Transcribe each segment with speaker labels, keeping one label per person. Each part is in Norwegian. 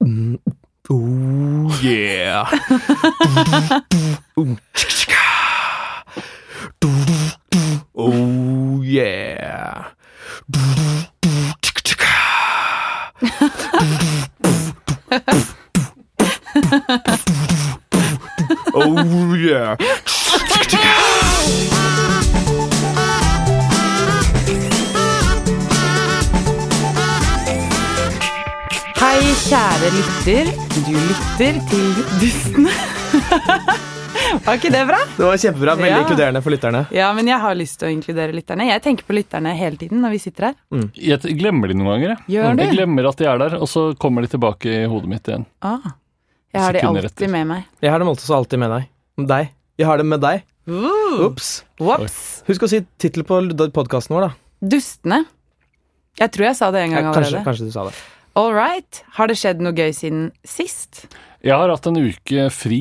Speaker 1: Mm. Oh yeah! Oh yeah! Oh yeah!
Speaker 2: Hei, kjære lytter. Du lytter til Dustene. Var ikke det bra?
Speaker 1: Det var kjempebra. Veldig
Speaker 2: Ja.
Speaker 1: inkluderende for lytterne.
Speaker 2: Ja, men jeg har lyst til å inkludere lytterne. Jeg tenker på lytterne hele tiden når vi sitter her.
Speaker 3: Jeg t- glemmer de noen ganger. Jeg.
Speaker 2: Gjør
Speaker 3: jeg
Speaker 2: du?
Speaker 3: glemmer at de er der, og så kommer de tilbake i hodet mitt igjen.
Speaker 2: Ah, jeg har de
Speaker 3: Sekunder etter.
Speaker 2: alltid med meg.
Speaker 1: Jeg har dem også alltid med deg. Deg. Jeg har dem med deg.
Speaker 2: Uh.
Speaker 1: Ops.
Speaker 2: Whoops.
Speaker 1: Husk å si tittel på podkasten vår, da.
Speaker 2: Dustene. Jeg tror jeg sa det en gang
Speaker 1: Ja, kanskje,
Speaker 2: allerede.
Speaker 1: kanskje du sa det.
Speaker 2: All right. Har det skjedd noe gøy siden sist?
Speaker 3: Jeg har hatt en uke fri.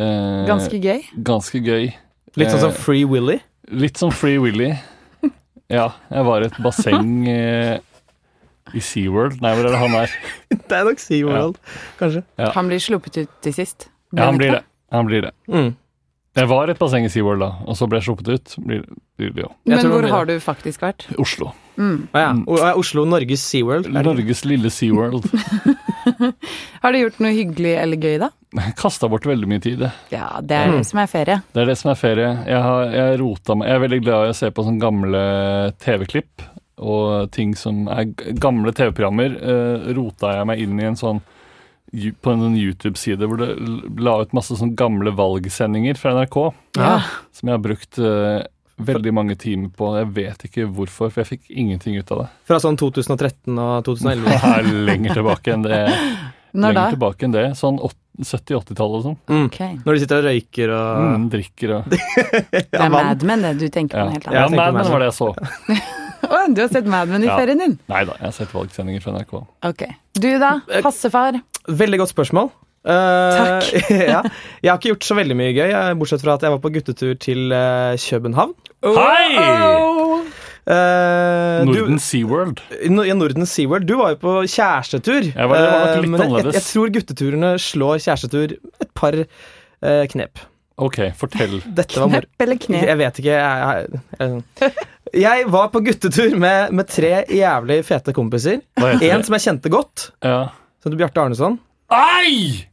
Speaker 3: Eh,
Speaker 2: Ganske gøy.
Speaker 3: ganske gøy.
Speaker 1: Litt sånn som
Speaker 3: Eh,
Speaker 1: Free Willy.
Speaker 3: Litt som Free Willy. Ja, jeg var i et basseng eh, i SeaWorld. Nei, hvor er det han er?
Speaker 1: Det er nok SeaWorld, kanskje.
Speaker 3: Ja.
Speaker 2: Han blir sluppet ut til sist.
Speaker 3: Ja, han blir det. Han blir det.
Speaker 1: Mm.
Speaker 3: Jeg var i et basseng i SeaWorld da, og så ble jeg sluppet ut. Blir, blir det jo.
Speaker 1: Jeg
Speaker 2: Men
Speaker 1: tror han
Speaker 2: hvor
Speaker 1: blir
Speaker 2: har du faktisk vært? Mm.
Speaker 3: Oslo.
Speaker 1: Å Ah, ja. O- er Oslo Norges SeaWorld. Er det-
Speaker 3: Norges lille SeaWorld.
Speaker 2: Har du gjort noe hyggelig eller gøy, da?
Speaker 3: Kasta bort veldig mye tid. det.
Speaker 2: Ja, det er det som er ferie.
Speaker 3: Det er det som er ferie. Jeg, har, jeg, rota meg. jeg er veldig glad i å se på sånne gamle TV-klipp og ting som er g- gamle TV-programmer. Eh, rota jeg meg inn i en sånn ju- på en sånn YouTube-side hvor det l- la ut masse sånne gamle valgsendinger fra NRK.
Speaker 1: Ja.
Speaker 3: Som jeg har brukt eh, veldig mange timer på. Jeg vet ikke hvorfor, for jeg fikk ingenting ut av det.
Speaker 1: Fra sånn 2013 og 2011.
Speaker 3: Det er lenger tilbake enn det.
Speaker 2: Når da?
Speaker 3: lenger tilbake enn det. Sånn åt- 70-80-tallet og sånn.
Speaker 1: Mm.
Speaker 2: Ok.
Speaker 1: Når de sitter og røyker og
Speaker 3: Mm, drikker og
Speaker 2: Det
Speaker 1: Ja, vann.
Speaker 2: er Mad Men, det. Du tenker
Speaker 3: Ja,
Speaker 2: på noe helt
Speaker 3: ja
Speaker 2: annet.
Speaker 1: Jeg tenker meg
Speaker 3: Mad Men
Speaker 1: sånn.
Speaker 3: var det jeg så.
Speaker 2: Å, du har sett Mad Men i
Speaker 3: Ja.
Speaker 2: ferien din?
Speaker 3: Nei da, jeg har sett valgsendinger fra NRK.
Speaker 2: Ok. Du da?
Speaker 1: Eh,
Speaker 2: Passefar?
Speaker 1: Veldig godt spørsmål. Eh, ja. Jeg har ikke gjort så veldig mye gøy, eh, bortsett fra at jeg var på guttetur til eh, København.
Speaker 3: Hei!
Speaker 1: Eh, du-
Speaker 3: Norden SeaWorld.
Speaker 1: No- I Norden SeaWorld, du var jo på kjærestetur.
Speaker 3: Jeg var- det var nok
Speaker 1: Eh,
Speaker 3: litt
Speaker 1: men jeg, jeg,
Speaker 3: annerledes.
Speaker 1: jeg tror gutteturene slår kjærestetur et par eh, knep.
Speaker 3: Ok, fortell.
Speaker 1: Dette var moro.
Speaker 2: Knepp eller knep?
Speaker 1: Jeg vet ikke. Jeg, jeg, jeg, jeg var på guttetur med, med tre jævlig fete kompiser.
Speaker 3: Hva heter
Speaker 1: En
Speaker 3: det?
Speaker 1: som jeg kjente godt,
Speaker 3: Ja.
Speaker 1: som heter Bjarte Arneson.
Speaker 3: Ei!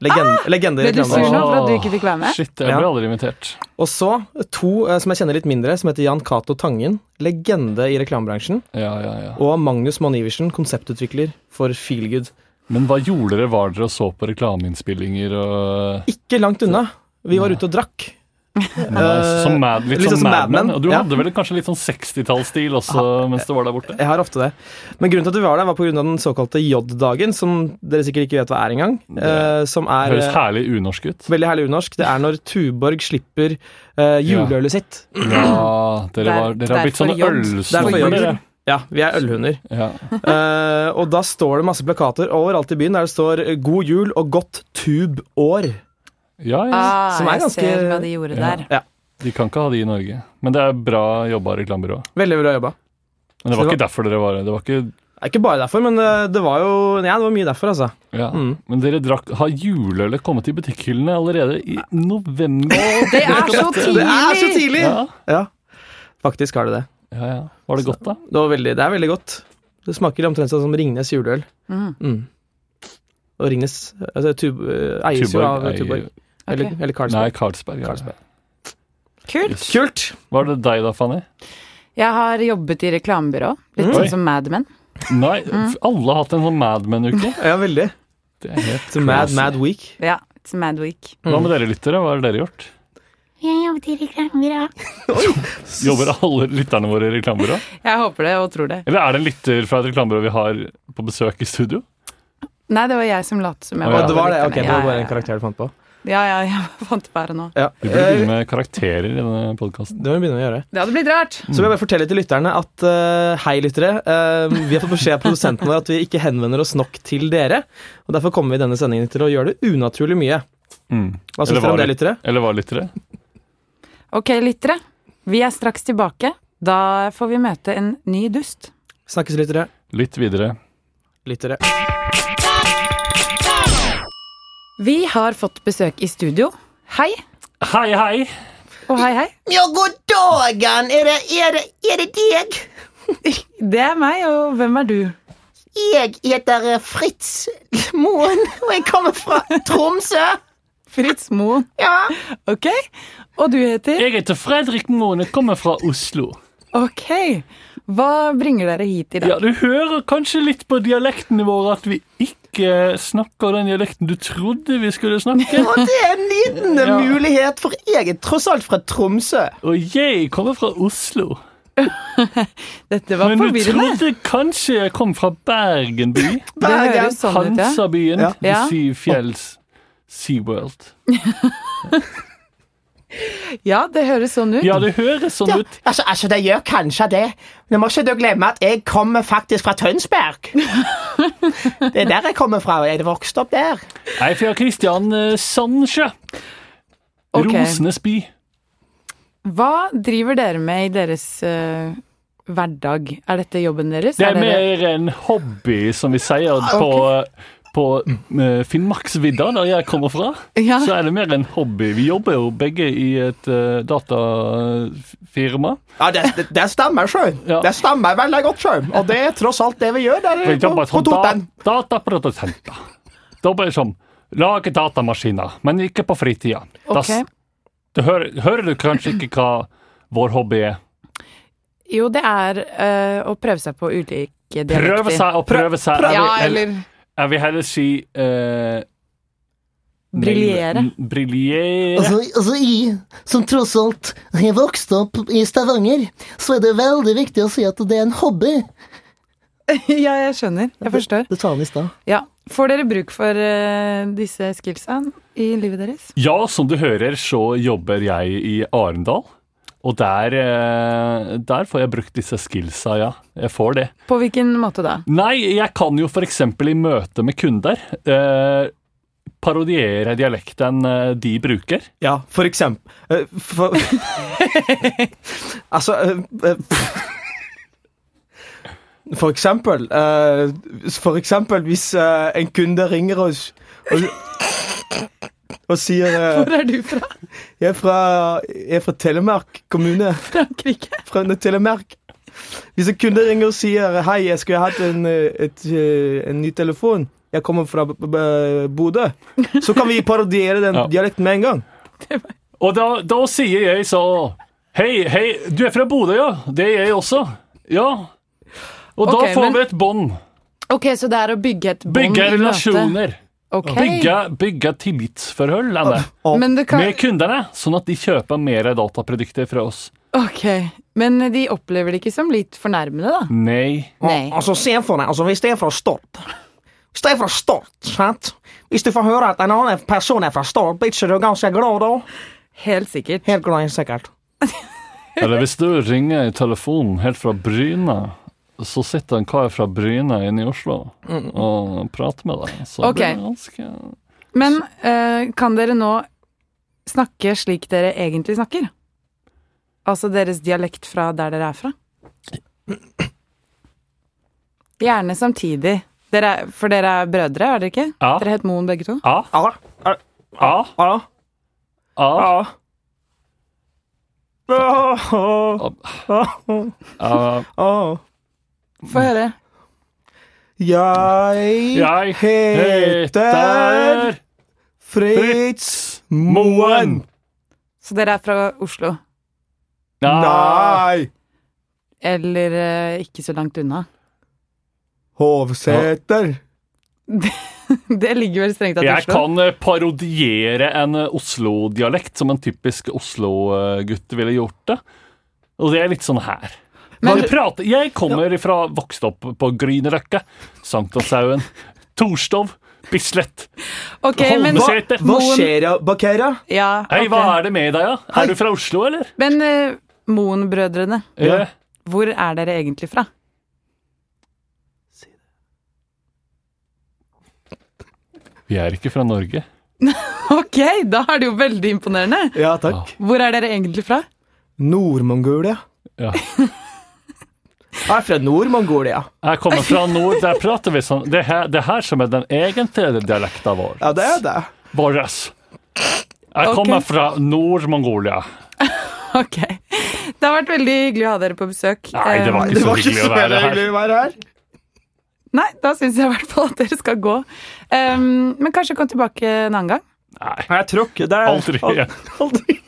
Speaker 1: Legend, legende i
Speaker 2: Ble Ah! du sur
Speaker 1: Trondheim.
Speaker 2: nå for at du
Speaker 3: Åh,
Speaker 2: ikke fikk være med?
Speaker 3: Shit, jeg ble aldri invitert.
Speaker 1: Og så to eh, som jeg kjenner litt mindre, som heter Jan Cato Tangen. Legende i reklamebransjen.
Speaker 3: Ja, ja, ja.
Speaker 1: Og Magnus Mann Iversen, konseptutvikler for Feelgood.
Speaker 3: Men hva gjorde dere? Var dere og så på reklameinnspillinger og
Speaker 1: Ikke langt unna. Vi var ute og drakk.
Speaker 3: Nice. Som mad, Litt
Speaker 1: Eh, litt
Speaker 3: sånn
Speaker 1: som Mad
Speaker 3: Mad Men.
Speaker 1: Men,
Speaker 3: Og du
Speaker 1: ja.
Speaker 3: hadde vel kanskje litt sånn 60-tallsstil også mens du var der borte?
Speaker 1: Jeg har ofte det. Men grunnen til at vi var der, var pga. den såkalte J-dagen, som dere sikkert ikke vet hva er engang. Eh, som er
Speaker 3: Høres
Speaker 1: eh,
Speaker 3: herlig unorsk ut.
Speaker 1: veldig herlig unorsk. Det er når Tuborg slipper eh, juleølet sitt.
Speaker 3: Ja, dere, var, dere har blitt
Speaker 2: Derfor
Speaker 3: sånne
Speaker 2: jobb.
Speaker 1: Derfor jobb.
Speaker 3: ølsnobber, dere.
Speaker 1: Ja, vi er ølhunder.
Speaker 3: Ja.
Speaker 1: Eh, og da står det masse plakater overalt i byen der det står eh, 'God jul og godt tubår'.
Speaker 3: Ja, ja.
Speaker 2: Ah,
Speaker 1: Som er ganske-
Speaker 2: Jeg ser hva de gjorde
Speaker 3: Ja.
Speaker 2: der.
Speaker 3: De kan ikke ha de i Norge. Men det er bra jobba reklamebyrå.
Speaker 1: Veldig bra jobba.
Speaker 3: Men
Speaker 1: Så
Speaker 3: det var
Speaker 1: det
Speaker 3: ikke derfor dere var her. Det var ikke
Speaker 1: Det er Ikke bare derfor, men eh, det var jo Ja, det var mye derfor, altså.
Speaker 3: Ja,
Speaker 1: Mm.
Speaker 3: Men dere drakk Har juleølet kommet i butikkhyllene allerede i november?
Speaker 2: Det er så tidlig!
Speaker 1: Det er så tidlig!
Speaker 3: Ja,
Speaker 1: Ja, faktisk har det det.
Speaker 3: ja, ja. Var det godt, da?
Speaker 1: Det, var veldig, det er veldig godt. Det smaker omtrent sånn som Ringnes juleøl.
Speaker 2: Mhm.
Speaker 1: Mm. Og Ringnes altså, tub, eh, eies jo av
Speaker 3: eier-
Speaker 1: Tuborg. Eller,
Speaker 2: Ok.
Speaker 1: eller
Speaker 3: Nei,
Speaker 1: Carlsberg.
Speaker 3: Carlsberg. Ja.
Speaker 1: Carlsberg.
Speaker 2: Kult.
Speaker 3: Yes.
Speaker 1: Kult!
Speaker 3: Var det deg da, Fanny?
Speaker 2: Jeg har jobbet i reklamebyrå, litt
Speaker 3: Mm. Oi.
Speaker 2: sånn som Mad Men.
Speaker 3: Nei,
Speaker 4: Mm.
Speaker 3: f- alle har hatt en sånn Mad Men-uke.
Speaker 1: Ja, veldig.
Speaker 3: Det er helt
Speaker 1: It's a mad,
Speaker 3: crazy.
Speaker 1: mad week. Mm.
Speaker 2: Ja, it's Mad Week.
Speaker 3: Hva med dere lyttere? Hva har dere gjort?
Speaker 4: Jeg jobbet i reklamebyrå.
Speaker 3: Jobber alle lytterne våre i reklamebyrå?
Speaker 2: Jeg håper det og tror det.
Speaker 3: Eller er det en lytter fra et reklamebyrå vi har på besøk i studio?
Speaker 2: Nei, det var jeg som lot som jeg
Speaker 3: Å,
Speaker 1: Og
Speaker 3: ja.
Speaker 1: det var det. Ok, det var
Speaker 2: Ja,
Speaker 1: bare
Speaker 2: ja,
Speaker 1: en karakter du fant på.
Speaker 2: ja. Ja, ja, jeg fant det bare nå.
Speaker 1: Ja.
Speaker 3: Vi burde
Speaker 1: Eh,
Speaker 3: begynne med karakterer i denne podkasten.
Speaker 1: Det må vi begynne å gjøre.
Speaker 2: Det hadde blitt rart.
Speaker 1: Så vil jeg bare fortelle til lytterne at eh, hei, lyttere. eh, vi har fått beskjed av produsenten vår at vi ikke henvender oss nok til dere. Og Derfor kommer vi i denne sendingen til å gjøre det unaturlig mye.
Speaker 3: Mm.
Speaker 1: Hva
Speaker 3: Eller
Speaker 1: syns dere
Speaker 3: var
Speaker 1: om det, lyttere?
Speaker 3: Eller hva, lyttere?
Speaker 2: Ok, lyttere. Vi er straks tilbake. Da får vi møte en ny dust.
Speaker 1: Snakkes, lyttere.
Speaker 3: Lytt videre.
Speaker 1: Lyttere.
Speaker 2: Vi har fått besøk i studio. Hei
Speaker 3: Hei, hei!
Speaker 2: og hei, hei.
Speaker 5: Ja, god dagen! Er det, er, det, er det deg?
Speaker 2: Det er meg, og hvem er du?
Speaker 5: Jeg heter eh, Fritz Moen, og jeg kommer fra Tromsø.
Speaker 2: Fritz Moen.
Speaker 5: Ja.
Speaker 2: Ok. Og du heter?
Speaker 3: Jeg heter Fredrik Moen, jeg kommer fra Oslo.
Speaker 2: Ok. Hva bringer dere hit i dag?
Speaker 3: Ja, Du hører kanskje litt på dialektene våre at vi ikke snakker den dialekten du trodde vi skulle snakke.
Speaker 5: Og det er en liten eh,
Speaker 3: Ja.
Speaker 5: mulighet, for jeg er tross alt fra Tromsø.
Speaker 3: Og jeg kommer fra Oslo.
Speaker 2: Dette var
Speaker 3: Men du
Speaker 2: forvirrende.
Speaker 3: trodde kanskje jeg kom fra Bergen by?
Speaker 2: Det
Speaker 5: Bergen.
Speaker 2: høres sånn ut, ja.
Speaker 3: Hansabyen.
Speaker 1: Ja.
Speaker 3: De
Speaker 2: Ja.
Speaker 3: syv fjells SeaWorld.
Speaker 2: Ja, det høres sånn ut.
Speaker 3: Ja, det høres sånn ut.
Speaker 5: Altså, altså, det gjør kanskje det. Men må ikke du glemme at jeg kommer faktisk fra Tønsberg. Det er der jeg kommer fra. og Jeg vokste opp der.
Speaker 3: Jeg er fra Kristian Sandsjø.
Speaker 2: Ok.
Speaker 3: Rosenes by.
Speaker 2: Hva driver dere med i deres eh, hverdag? Er Ah, dette jobben deres?
Speaker 3: Det er
Speaker 2: dere-
Speaker 3: mer en hobby, som vi sier på, på eh, Finnmarksvidda, der jeg kommer fra.
Speaker 2: Ja.
Speaker 3: Så er det mer en hobby. Vi jobber jo begge i et eh, datafirma.
Speaker 5: Ja, Det, det, det stemmer sjøl.
Speaker 3: Ja.
Speaker 5: Det stemmer veldig godt sjøl. Og det er tross alt det vi gjør der
Speaker 3: Vi
Speaker 5: på,
Speaker 3: jobber
Speaker 5: på
Speaker 3: som sånn da,
Speaker 5: Toten.
Speaker 3: dataprodusenter. Jobber som lage datamaskiner, men ikke på fritida. Da s-
Speaker 2: Ok.
Speaker 3: Du hører, hører du kanskje ikke hva vår hobby er?
Speaker 2: Jo, det er eh, å prøve seg på ulike dialekter.
Speaker 3: Prøve seg og prøve seg.
Speaker 5: prøv-
Speaker 3: Jeg
Speaker 2: Ja,
Speaker 3: vil- jeg-
Speaker 2: eller
Speaker 3: Jeg vil heller si eh,
Speaker 2: Briljere.
Speaker 3: nail- Briljere.
Speaker 6: Altså, altså jeg, som tross alt har vokst opp i Stavanger, så er det veldig viktig å si at det er en hobby.
Speaker 2: Ja, jeg skjønner. Jeg forstår.
Speaker 6: Det sa han i stad.
Speaker 2: Ja. Får dere bruk for eh, disse skillsa i livet deres?
Speaker 3: Ja, som du hører, så jobber jeg i Arendal. Og der, eh, der får jeg brukt disse skillsa, ja. Jeg får det.
Speaker 2: På hvilken måte
Speaker 3: Eh.
Speaker 2: da?
Speaker 3: Nei, jeg kan jo f.eks. i møte med kunder eh, parodiere dialekten eh, de bruker.
Speaker 1: Ja, for eksempel eh, for, Altså eh, eh, For eksempel eh, For eksempel hvis eh, en kunde ringer oss og, og sier eh,
Speaker 2: Hvor er du fra?
Speaker 1: jeg, er fra, 'Jeg er fra Telemark kommune'.
Speaker 2: Frankrike?
Speaker 1: Fra Telemark. Hvis en kunde ringer og sier 'Hei, jeg skulle hatt en, eh, et, eh, en ny telefon'. Jeg kommer fra B- B- Bodø. Så kan vi parodiere den
Speaker 3: Ja.
Speaker 1: dialekten med en gang.
Speaker 3: Og da, da sier jeg så Hei, hei, du er fra Bodø, ja? Det er jeg også. Ja. Og da
Speaker 2: Ok,
Speaker 3: får
Speaker 2: men-
Speaker 3: vi et bånd.
Speaker 2: Ok, så det er å bygge et bånd
Speaker 3: Bygge
Speaker 2: i møte.
Speaker 3: relasjoner.
Speaker 2: Ok.
Speaker 3: Bygge, bygge tillitsforhold Anne,
Speaker 2: Men det kan
Speaker 3: med kundene, sånn at de kjøper mer dataprodukter fra oss.
Speaker 2: Ok. Men de opplever det ikke som litt fornærmende, da?
Speaker 3: Nei.
Speaker 2: Nei.
Speaker 5: Altså, se for deg, altså, hvis det er fra Stord Hvis det er fra Stord, sant Hvis du får høre at en annen person er fra Stord, blir ikke du ganske glad da?
Speaker 2: Helt sikkert.
Speaker 5: Helt glad, sikkert.
Speaker 3: Eller hvis du ringer i telefonen helt fra Bryne, så sitter en kar fra Bryne inne i Oslo og prater med deg. Så
Speaker 2: Ok.
Speaker 3: blir det ganske
Speaker 2: Men eh, kan dere nå snakke slik dere egentlig snakker? Altså deres dialekt fra der dere er fra? Gjerne samtidig. Dere er, for dere er brødre, er dere ikke?
Speaker 3: Ja.
Speaker 2: Dere het Moen begge to.
Speaker 3: A,
Speaker 1: Ja, ja,
Speaker 3: A,
Speaker 1: ja,
Speaker 3: A.
Speaker 1: ja. Åh, åh,
Speaker 3: A.
Speaker 1: åh.
Speaker 2: Få høre.
Speaker 1: Jeg
Speaker 3: Jeg
Speaker 1: heter
Speaker 3: heter
Speaker 1: Fritz Moen.
Speaker 2: Så dere er fra Oslo?
Speaker 3: Nei.
Speaker 1: Nei,
Speaker 2: Eller eh, ikke så langt unna?
Speaker 1: Hovseter.
Speaker 2: Det ligger vel strengt tatt i
Speaker 3: Jeg
Speaker 2: Oslo?
Speaker 3: kan eh, parodiere en eh, Oslo-dialekt, som en typisk Oslo-gutt ville gjort det. Og det er litt sånn her.
Speaker 2: Men-
Speaker 3: jeg, prater, jeg kommer fra vokst opp på Grünerløkka, Sankthanshaugen, Torstov, Bislett.
Speaker 2: Ok, men
Speaker 3: Holmeseter.
Speaker 1: Hva
Speaker 2: Moen-
Speaker 1: skjer, ja, Bakera?
Speaker 2: Ja,
Speaker 3: Hei,
Speaker 2: ok.
Speaker 3: hva er det med deg, da? Er du fra Oslo, eller? Eh,
Speaker 2: Men eh, Moen-brødrene,
Speaker 3: Ja.
Speaker 2: hvor er dere egentlig fra?
Speaker 3: Vi er ikke fra Norge.
Speaker 2: Ok, da er det jo veldig imponerende.
Speaker 1: Ja takk.
Speaker 2: Hvor er dere egentlig fra?
Speaker 1: Nord-Mongolia.
Speaker 3: Ja.
Speaker 1: Jeg er fra Nord-Mongolia.
Speaker 3: Jeg kommer fra nord, der prater vi sånn. Det er her, det er her som er den egentlige dialekta vår.
Speaker 1: Ja, det er det.
Speaker 3: våres. Jeg
Speaker 2: Ok.
Speaker 3: kommer fra Nord-Mongolia.
Speaker 2: Ok. Det har vært veldig hyggelig å ha dere på besøk.
Speaker 3: Nei, det var
Speaker 2: Eh,
Speaker 3: ikke så hyggelig å være her.
Speaker 5: å være her.
Speaker 2: Nei, da syns jeg i hvert fall at dere skal gå. Ehm, men kanskje kom tilbake en annen gang.
Speaker 3: Nei,
Speaker 1: Jeg tråkker der.
Speaker 3: aldri igjen.
Speaker 1: aldri.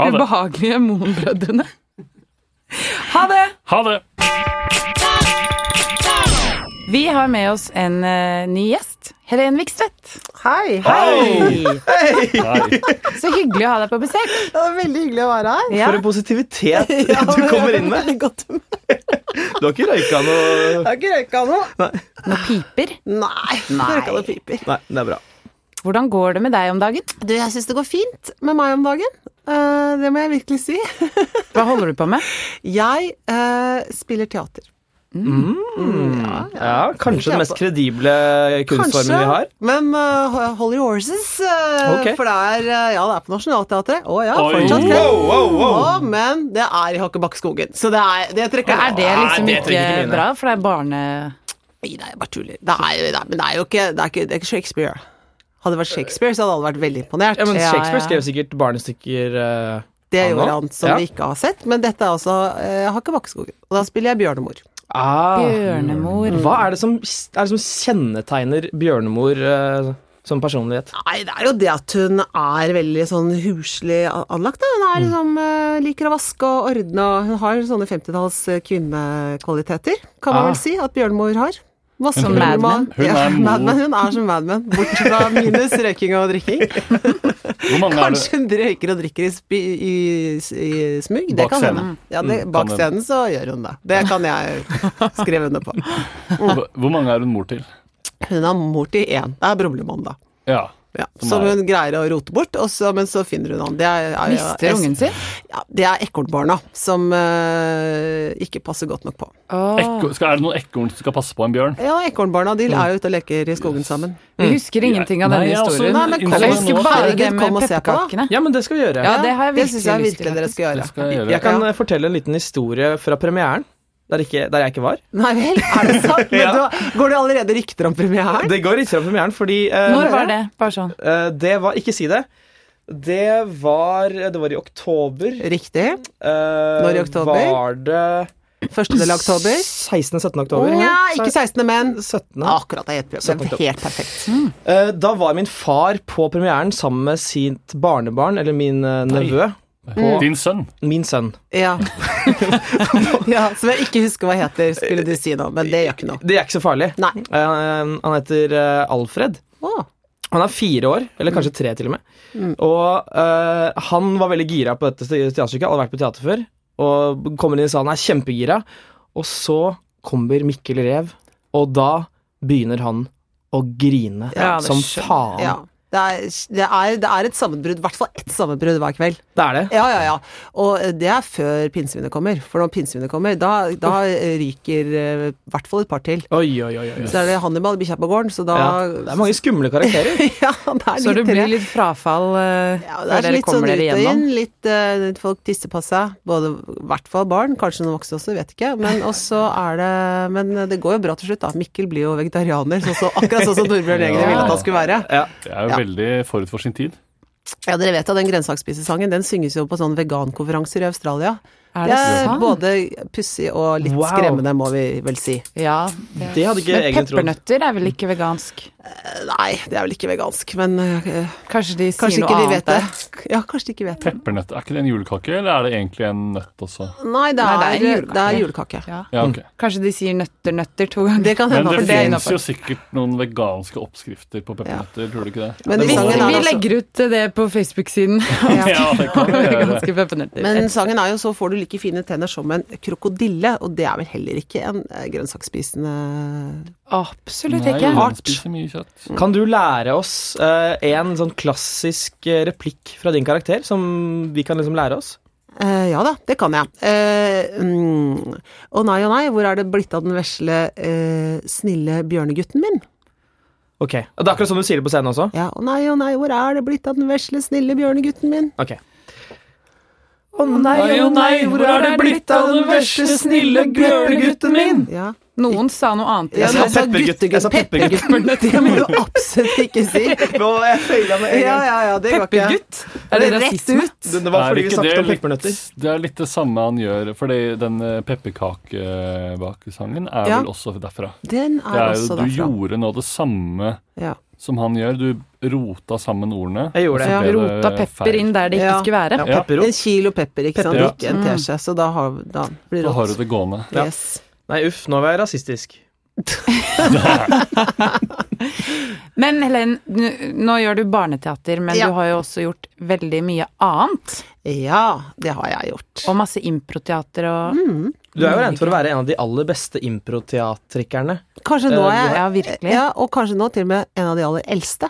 Speaker 3: Ha det.
Speaker 2: Ubehagelige Moen-brødrene. Ha det!
Speaker 3: Ha det.
Speaker 2: Vi har med oss en eh, ny gjest. Helen Vikstvedt.
Speaker 7: Hei!
Speaker 1: Hei!
Speaker 3: Nei.
Speaker 2: Så hyggelig å ha deg på besøk.
Speaker 7: Det var veldig hyggelig å være her.
Speaker 2: Ja.
Speaker 1: For en positivitet
Speaker 7: Ja,
Speaker 1: du kommer inn med.
Speaker 7: Godt humør.
Speaker 1: Du har ikke røyka
Speaker 7: Jeg
Speaker 1: noe
Speaker 7: har ikke røyka noe.
Speaker 2: Nå piper.
Speaker 7: Nei.
Speaker 2: Nei.
Speaker 7: Røyka det piper.
Speaker 1: Nei, det er bra.
Speaker 2: Hvordan går det med deg om dagen?
Speaker 7: Du, jeg syns det går fint med meg om dagen. Eh, det må jeg virkelig si.
Speaker 2: Hva holder du på med?
Speaker 7: Jeg eh, spiller teater.
Speaker 1: Ja, Kanskje den mest kredible kunstformen vi har.
Speaker 7: Men eh, Holy Horses eh,
Speaker 1: Ok.
Speaker 7: For det er, eh, ja, det er på Nationaltheatret. Å ja,
Speaker 3: Oi.
Speaker 7: fortsatt det.
Speaker 1: Wow, wow, wow.
Speaker 7: Å, men det er i Hakkebakkeskogen. Så det er det trekker
Speaker 2: Er det liksom
Speaker 1: det trenger
Speaker 2: ikke
Speaker 1: ikke mine.
Speaker 2: bra, for det er barne...
Speaker 7: Nei, det er bare tuller. Det er, jo- det er, men det er jo ikke, det er ikke, det er ikke Shakespeare. Hadde det vært Shakespeare, så hadde alle vært veldig imponert.
Speaker 1: Ja, men
Speaker 2: Ja,
Speaker 1: Shakespeare
Speaker 2: ja.
Speaker 1: skrev sikkert barnestykker eh,
Speaker 7: Det
Speaker 1: Han
Speaker 7: gjorde
Speaker 1: da?
Speaker 7: han som
Speaker 1: Ja.
Speaker 7: vi ikke har sett, men dette er altså eh, Hakkebakkeskogen. Og da spiller jeg bjørnemor.
Speaker 1: ah.
Speaker 2: Bjørnemor.
Speaker 1: Hva er det som, er det som kjennetegner Bjørnemor eh, som personlighet?
Speaker 7: Nei, det er jo det at hun er veldig sånn huslig a- anlagt, da. Hun er liksom eh, liker å vaske og ordne, og hun har sånne 50-talls eh, kvinnekvaliteter, kan man
Speaker 1: Ah.
Speaker 7: vel si at bjørnemor har. Vaske
Speaker 3: Som
Speaker 2: Mad Men.
Speaker 7: Hun, ja,
Speaker 3: Hun er
Speaker 7: Mad
Speaker 3: mor.
Speaker 7: Men, hun er som Mad Men, bortsett fra minus røyking og drikking.
Speaker 3: Hvor mange er det?
Speaker 7: Kanskje hun røyker og drikker i, spi, i, i smug. Det
Speaker 3: Bak
Speaker 7: kan hende.
Speaker 3: scenen.
Speaker 7: Ja, det,
Speaker 3: Mm,
Speaker 7: bak
Speaker 3: kan
Speaker 7: scenen så gjør hun det. Det kan jeg skrive under på.
Speaker 3: Hvor hvor mange er hun mor til?
Speaker 7: Hun er mor til én. Det er Brumlemann, da.
Speaker 3: Ja.
Speaker 7: Ja,
Speaker 3: Som
Speaker 7: som
Speaker 3: er-
Speaker 7: hun greier å rote bort, og så, men så finner hun han. Det er, er,
Speaker 2: Mister ungen sin?
Speaker 7: Ja, det er ekornbarna, som eh, ikke passer godt nok på.
Speaker 2: Åh.
Speaker 3: Ekko, skal, er det noen ekorn som skal passe på en bjørn?
Speaker 7: Ja, ekornbarna de er jo ute og leker i skogen sammen.
Speaker 2: Vi husker ingenting av
Speaker 3: Nei,
Speaker 2: denne
Speaker 3: jeg er også-
Speaker 2: historien.
Speaker 7: Nei, men kom
Speaker 2: Jeg
Speaker 7: og
Speaker 2: husker
Speaker 7: se på.
Speaker 2: bare det
Speaker 7: Herregud,
Speaker 2: med
Speaker 7: kom og se på, da.
Speaker 2: pepperkakene.
Speaker 1: Ja, men det skal vi gjøre.
Speaker 2: Ja, det har jeg
Speaker 7: Det syns jeg
Speaker 2: virkelig lyst
Speaker 7: virkelig
Speaker 2: til.
Speaker 7: dere skal
Speaker 3: Det
Speaker 7: gjøre.
Speaker 3: skal jeg
Speaker 1: Jeg
Speaker 3: gjøre.
Speaker 1: kan
Speaker 7: Ja.
Speaker 1: eh, fortelle en liten historie fra premieren, der, ikke, der jeg ikke var.
Speaker 7: Nei vel, er det sant? Men
Speaker 1: Ja.
Speaker 7: da går det allerede rykter om premieren?
Speaker 1: Det går ikke fra premieren, fordi eh,
Speaker 2: Når var det? Bare sånn.
Speaker 1: eh, det var Ikke si det. Det var Det var i oktober.
Speaker 7: Riktig.
Speaker 1: Eh,
Speaker 7: Når i oktober?
Speaker 1: Var det
Speaker 7: 1. del av oktober.
Speaker 1: 16.-17. oktober?
Speaker 7: Ja, ikke Ah. 16., men
Speaker 1: 17.
Speaker 7: Akkurat, det er helt,
Speaker 1: Søtten
Speaker 7: det er helt perfekt.
Speaker 1: Eh, Da var min far på premieren sammen med sitt barnebarn, eller min eh, nevø,
Speaker 3: Din sønn.
Speaker 1: min sønn.
Speaker 7: Ja. ja. Som jeg ikke husker hva heter, skulle du si nå, men det gjør ikke noe.
Speaker 1: Det er ikke så farlig.
Speaker 7: Nei.
Speaker 1: Eh, Han heter eh, Alfred.
Speaker 7: Å, Mm.
Speaker 1: Han er fire år, eller kanskje tre til og med. Og eh, han var veldig gira på dette teaterstykket, hadde vært på teater før. Og kommer inn i salen, er kjempegira. Og så kommer Mikkel Rev, og da begynner han å grine
Speaker 2: Ja, det
Speaker 1: som
Speaker 2: skjønner
Speaker 1: faen.
Speaker 7: ja. Det er, det, er, det er et sammenbrudd, i hvert fall ett sammenbrudd hver kveld.
Speaker 1: Det er det.
Speaker 7: Ja, ja, ja. Og eh, det er før pinsevinet kommer. For når pinsevinet kommer, da, da eh, ryker eh, i hvert fall et par til.
Speaker 1: Oi, oi, oi. oi.
Speaker 7: Så er det Hannibal, bikkja på gården, så da
Speaker 1: Ja, det er mange skumle karakterer.
Speaker 7: Ja, det er
Speaker 2: Så
Speaker 7: litt
Speaker 2: det blir
Speaker 7: tre.
Speaker 2: litt frafall eh,
Speaker 7: ja,
Speaker 2: før
Speaker 7: det er
Speaker 2: dere
Speaker 7: litt sånn
Speaker 2: kommer
Speaker 7: ut
Speaker 2: dere
Speaker 7: og inn,
Speaker 2: gjennom?
Speaker 7: litt eh, folk tisser på seg, både i hvert fall barn, kanskje noen voksne også, vet ikke. Men også er det Men det går jo bra til slutt, da. Mikkel blir jo vegetarianer, sånn som- akkurat sånn som Torbjørn egentlig ville at han skulle være.
Speaker 3: Det er jo
Speaker 7: Ja.
Speaker 3: veldig forut for sin tid.
Speaker 7: Ja, dere vet jo den grønnsaksspisesangen, den synges jo på sånne vegankonferanser i Australia.
Speaker 2: Er det
Speaker 7: er
Speaker 2: sant?
Speaker 7: både pussig og litt
Speaker 1: Wow.
Speaker 7: skremmende, må vi vel si.
Speaker 2: Ja.
Speaker 1: Det hadde ikke
Speaker 2: Men
Speaker 1: egen trodd.
Speaker 2: peppernøtter er vel ikke vegansk?
Speaker 7: Nei, det er vel ikke vegansk, men eh,
Speaker 2: Kanskje de sier
Speaker 7: kanskje
Speaker 2: noe
Speaker 7: ikke de
Speaker 2: annet
Speaker 7: vet det.
Speaker 2: der?
Speaker 7: Ja, kanskje de ikke vet det.
Speaker 3: Peppernøtt, er ikke det en julekake, eller er det egentlig en nøtt også?
Speaker 7: Nei, det
Speaker 2: Nei, det er
Speaker 7: er,
Speaker 2: en
Speaker 7: det er
Speaker 2: julekake.
Speaker 7: julekake.
Speaker 2: Ja.
Speaker 3: Ja, ok.
Speaker 2: Kanskje de sier nøtter, nøtter to ganger.
Speaker 7: Det kan
Speaker 3: Men
Speaker 7: hende,
Speaker 3: det
Speaker 7: for det er
Speaker 3: finnes
Speaker 7: innafor.
Speaker 3: jo sikkert noen veganske oppskrifter på peppernøtter, tror du ikke det?
Speaker 7: Men
Speaker 3: det
Speaker 7: i
Speaker 3: må-
Speaker 7: sangen er altså-
Speaker 2: Vi
Speaker 7: det også-
Speaker 2: legger ut det på Facebook-siden
Speaker 3: Ja, det kan
Speaker 2: om
Speaker 3: vi gjøre.
Speaker 2: veganske peppernøtter.
Speaker 7: Men sangen er jo 'Så får du like fine tenner som en krokodille', og det er vel heller ikke en eh, grønnsaksspisende
Speaker 2: Absolutt
Speaker 3: Nei,
Speaker 2: ikke.
Speaker 3: han
Speaker 7: Art.
Speaker 3: spiser mye kjøtt.
Speaker 1: Kan du lære oss eh, en sånn klassisk eh, replikk fra din karakter, som vi kan liksom lære oss?
Speaker 7: Eh, Ja da, det kan jeg. Eh, mm, Å nei, å nei, hvor er det blitt av den vesle, eh, snille bjørnegutten min?
Speaker 1: Ok, og Det er akkurat som du sier det på scenen også?
Speaker 7: Ja, å nei, å nei, hvor er det blitt av den vesle, snille bjørnegutten min?
Speaker 1: Ok. Å nei, å nei, hvor er det blitt av den vesle, snille bjørnegutten min?
Speaker 7: Ja,
Speaker 2: Noen sa noe annet.
Speaker 7: Ja,
Speaker 2: Ja,
Speaker 1: sa
Speaker 7: men altså,
Speaker 1: peppergutt.
Speaker 7: guttegutt-
Speaker 1: Jeg sa peppergutt.
Speaker 7: pepperguttene, Det må du absolutt ikke si.
Speaker 1: Nå, jeg feilet med en
Speaker 7: Ja,
Speaker 1: gang.
Speaker 7: ja, ja, det går ikke.
Speaker 2: Peppergutt? Er det
Speaker 7: Rett
Speaker 2: rasisme?
Speaker 7: ut.
Speaker 1: Det, det var
Speaker 3: Er
Speaker 1: fordi vi
Speaker 3: ikke
Speaker 1: snakket om
Speaker 3: litt-
Speaker 1: peppernøtter.
Speaker 3: Det er litt det samme han gjør, fordi den eh, pepperkakebakesangen er
Speaker 7: Ja.
Speaker 3: vel også derfra.
Speaker 7: Den er,
Speaker 3: Det er jo,
Speaker 7: også
Speaker 3: du
Speaker 7: derfra.
Speaker 3: gjorde nå det samme
Speaker 7: Ja.
Speaker 3: som han gjør. Du rota sammen ordene.
Speaker 1: Jeg gjorde det.
Speaker 7: Ja.
Speaker 3: ble det
Speaker 2: Rota pepper
Speaker 3: feil.
Speaker 2: inn der det ikke
Speaker 7: Ja.
Speaker 2: skulle være.
Speaker 1: Ja,
Speaker 3: Ja.
Speaker 1: pepperrot.
Speaker 7: En kilo pepper, ikke sant.
Speaker 3: Pepper, ja.
Speaker 7: Ikke en teskje. Så da, har, da blir
Speaker 3: Da
Speaker 7: det
Speaker 3: har du
Speaker 7: rått.
Speaker 3: det gående.
Speaker 1: Ja.
Speaker 7: Yes.
Speaker 1: Nei, uff, nå var jeg rasistisk.
Speaker 2: Men Helen, n- nå gjør du barneteater, men
Speaker 7: Ja.
Speaker 2: du har jo også gjort veldig mye annet.
Speaker 7: Ja, det har jeg gjort.
Speaker 2: Og masse improteater og
Speaker 7: Mm.
Speaker 1: Du er jo regnet for å være en av de aller beste improteatrikerne.
Speaker 7: Kanskje nå er jeg
Speaker 2: Ja, virkelig.
Speaker 7: ja, Og kanskje nå til og med en av de aller eldste.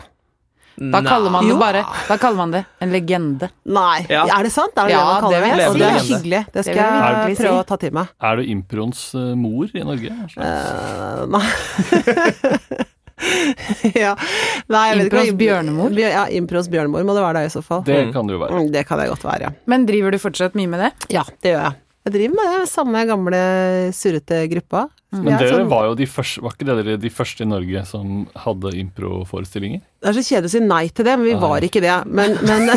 Speaker 2: Da kaller man det
Speaker 7: Jo.
Speaker 2: bare Da kaller man det en legende.
Speaker 7: Nei,
Speaker 1: Ja.
Speaker 7: er det sant? Er det
Speaker 2: Ja,
Speaker 7: det man
Speaker 2: det
Speaker 7: kaller
Speaker 2: vil
Speaker 7: det?
Speaker 1: jeg
Speaker 7: Og
Speaker 1: si.
Speaker 7: det er
Speaker 1: Legende.
Speaker 7: hyggelig. Det skal
Speaker 2: vil jeg
Speaker 7: jeg
Speaker 2: virkelig si.
Speaker 7: prøve å ta til meg.
Speaker 3: Er du improens eh, mor i Norge?
Speaker 7: Eh, nei. ja. nei jeg vet ikke hva
Speaker 2: Impros
Speaker 7: im-
Speaker 2: bjørnemor?
Speaker 7: Bjør- Ja, impros bjørnemor må det være da i så fall.
Speaker 3: Det kan det jo være.
Speaker 7: Mm, det kan jeg godt være, ja.
Speaker 2: Men driver du fortsatt mye med det?
Speaker 7: Ja, det gjør jeg. Jeg driver med det samme gamle surrete gruppa.
Speaker 3: Men
Speaker 1: Mm.
Speaker 7: Jeg er
Speaker 3: dere
Speaker 7: sånn-
Speaker 3: var jo de første, var ikke dere de første i Norge som hadde improforestillinger?
Speaker 7: Det er så kjedelig å si nei til det, men vi var ikke det. Men, men
Speaker 1: Ah.